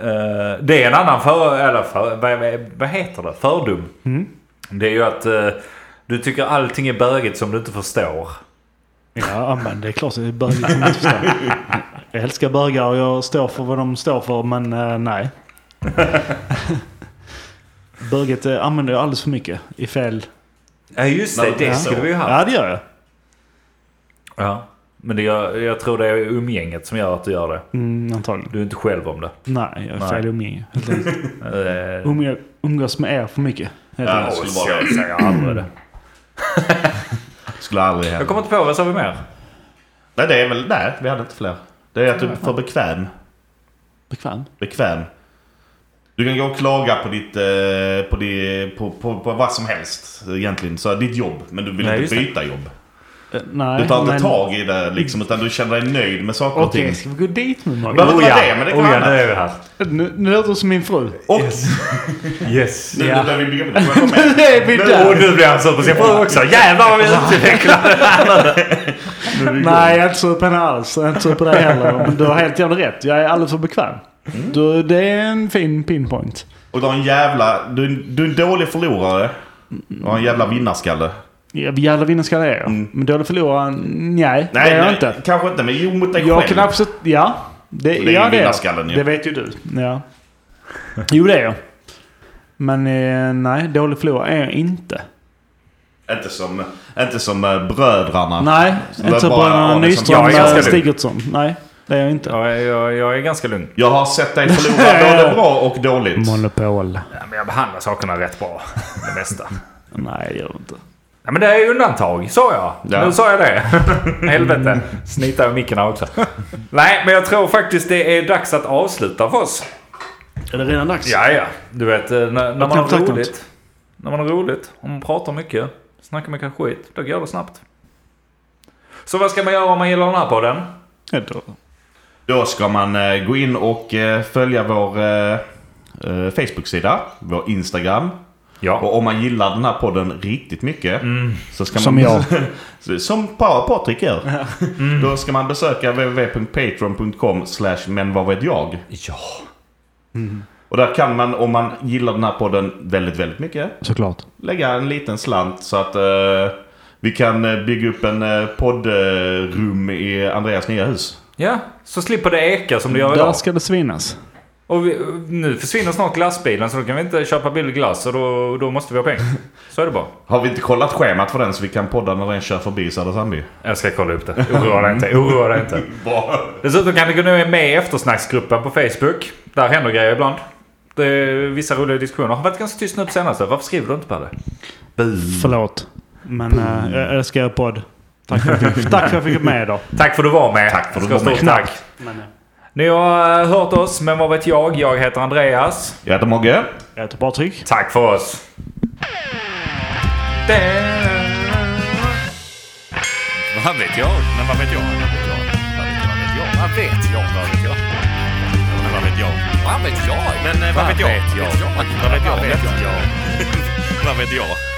A: Eh, det är en annan för... Eller för vad, vad- vad heter det? Fördom.
B: Mm.
A: Det är ju att eh, du tycker allting är bögigt som du inte förstår.
C: Ja, men det är klart att det är bögar som inte förstår. Jag älskar bögar och jag står för vad de står för, men eh, nej. Böget eh, använder jag alldeles för mycket i fel...
A: Ja, just det.
B: Men-
A: Det
B: Ja.
A: skulle vi ju haft.
C: Ja, det gör jag.
A: Ja. Men det, jag, jag tror det är umgänget som gör att du gör det.
C: Mm, antagligen.
A: Du är inte själv om det.
C: Nej, jag
A: Nej.
C: är fel umgänge. helt enkelt.
B: Mm.
A: Eh,
C: Umgä- Umgås med er för mycket. helt
B: Ja,
A: jag
C: enkelt.
B: skulle
A: skulle
B: bara-
A: bara säga aldrig det.
B: Skulle aldrig
A: Jag
B: hända.
A: kommer inte på, vad sa vi mer?
B: Nej, det är väl... Nej, vi hade inte fler. Det är att du är för bekväm.
C: Bekväm.
B: Bekväm. Du kan gå och klaga på ditt... eh, På, ditt på, på, på vad som helst egentligen. Så här, ditt jobb. Men du vill
A: Nej,
B: inte
A: just det.
B: byta jobb.
C: Eh, Nej,
B: Du tar inte
C: men-
B: tag i det liksom. Utan du känner dig nöjd med saker och
C: Okej,
B: ting.
C: ska vi gå dit nu
B: Det
C: Morgan?
B: behöver inte vara det, men det kan
A: oh,
B: vara
A: ja, nu
B: annat.
A: är vi här.
C: Nu, nu låter du som min fru.
B: Och...
A: Yes.
B: Nu
C: Ja.
B: nu börjar vi bygga på det. Får jag vara med?
C: Nu är vi
A: Och
C: där!
A: nu blir
B: alltså
A: han sur på sin fru också. Jävlar vad vi utvecklar!
C: Nej, jag är inte sur på henne alls. Jag är inte sur på dig heller. Men du har helt jävla rätt. Jag är alldeles för bekväm.
B: Mm.
C: Du, det är en fin pinpoint.
B: Och du har en jävla... Du, du är en dålig förlorare. Och har en jävla vinnarskalle.
C: Ja, Jävla vinnarskalle är jag.
B: Mm.
C: Men dålig förlorare? Nej,
B: Nej,
C: det är jag
B: nej,
C: inte.
B: kanske inte. Men jo, mot dig
C: Jag
B: själv.
C: kan absolut... Ja. Det,
B: Det är
C: ja,
B: ju
C: det är
B: vinnarskallen ju.
C: jag. Det vet ju du. Ja. Jo, det är jag. Men eh, nej, dålig förlorare är jag inte.
B: Inte som, inte som eh, brödrarna.
C: Nej,
B: Så det
C: inte
B: är
C: så
B: bara
C: Bröderna
B: Arne som-
A: Jag
C: Nyström
A: är ganska
C: och
A: lugn.
C: Sigurdsson. Nej, det är jag inte.
A: Jag, jag, jag är ganska lugn.
B: Jag har sett dig förlora både bra och dåligt.
C: Monopol.
A: Ja, men jag behandlar sakerna rätt bra. Det mesta.
C: Nej, det gör jag inte.
A: Ja, men det är ju undantag, sa jag.
B: Ja.
A: Nu sa jag det. Helvete. Snittar jag micken här också. Nej, men jag tror faktiskt det är dags att avsluta för oss.
C: Är det redan dags?
A: Ja, ja. Du vet, eh, när, när man
C: knappt
A: har
C: sagt
A: roligt.
C: något.
A: När man har roligt, om man pratar mycket, snackar mycket skit, då går det snabbt. Så vad ska man göra om man gillar den här podden?
C: Ja, då.
B: Då ska man eh, gå in och eh, följa vår eh, eh, Facebook-sida, vår Instagram.
A: Ja.
B: Och om man gillar den här podden riktigt mycket. Så ska man
C: Som jag.
B: Så- som Pa- Patrik gör. Mm. Då ska man besöka www.patreon.com slash men vad vet jag.
A: Ja.
B: Och där kan man, om man gillar den här podden väldigt, väldigt mycket,
C: Såklart.
B: lägga en liten slant så att eh, vi kan eh, bygga upp en eh, poddrum i Andreas nya hus.
A: Ja, så slipper det eka som det gör
C: Där
A: idag.
C: ska det svinas.
A: Och vi, nu försvinner snart glassbilen så då kan vi inte köpa billig glass och då, då måste vi ha pengar. Så är det bara.
B: Har vi inte kollat schemat för den så vi kan podda när den kör förbi Södertälje?
A: Jag ska kolla upp det. Oroa dig inte, oroa dig inte.
B: Bra.
A: Dessutom kan du gå nu med i eftersnacksgruppen på Facebook. Där händer grejer ibland. Det är vissa roliga diskussioner. Har varit ganska tyst nu på senaste. Varför skriver du inte på det?
C: Förlåt. Men eh, jag älskar er podd. Tack för att jag fick, tack för att jag fick med idag.
A: Tack för att du var med.
B: Tack för att
A: Ska
B: du var
A: stort
B: med.
A: Tack. Ni har eh, hört oss, men vad vet jag? Jag heter Andreas.
B: Jag heter Mogge.
C: Jag heter Patrik.
A: Tack för oss.
D: Vad vet jag? Men vad vet jag? Vad vet jag? Vad vet jag? Vad vet jag? Vad vet jag? Men vad vet jag? Vad vet jag? Men eh, vad vet jag? Vad vet jag? Vad vet jag? Vad vet jag?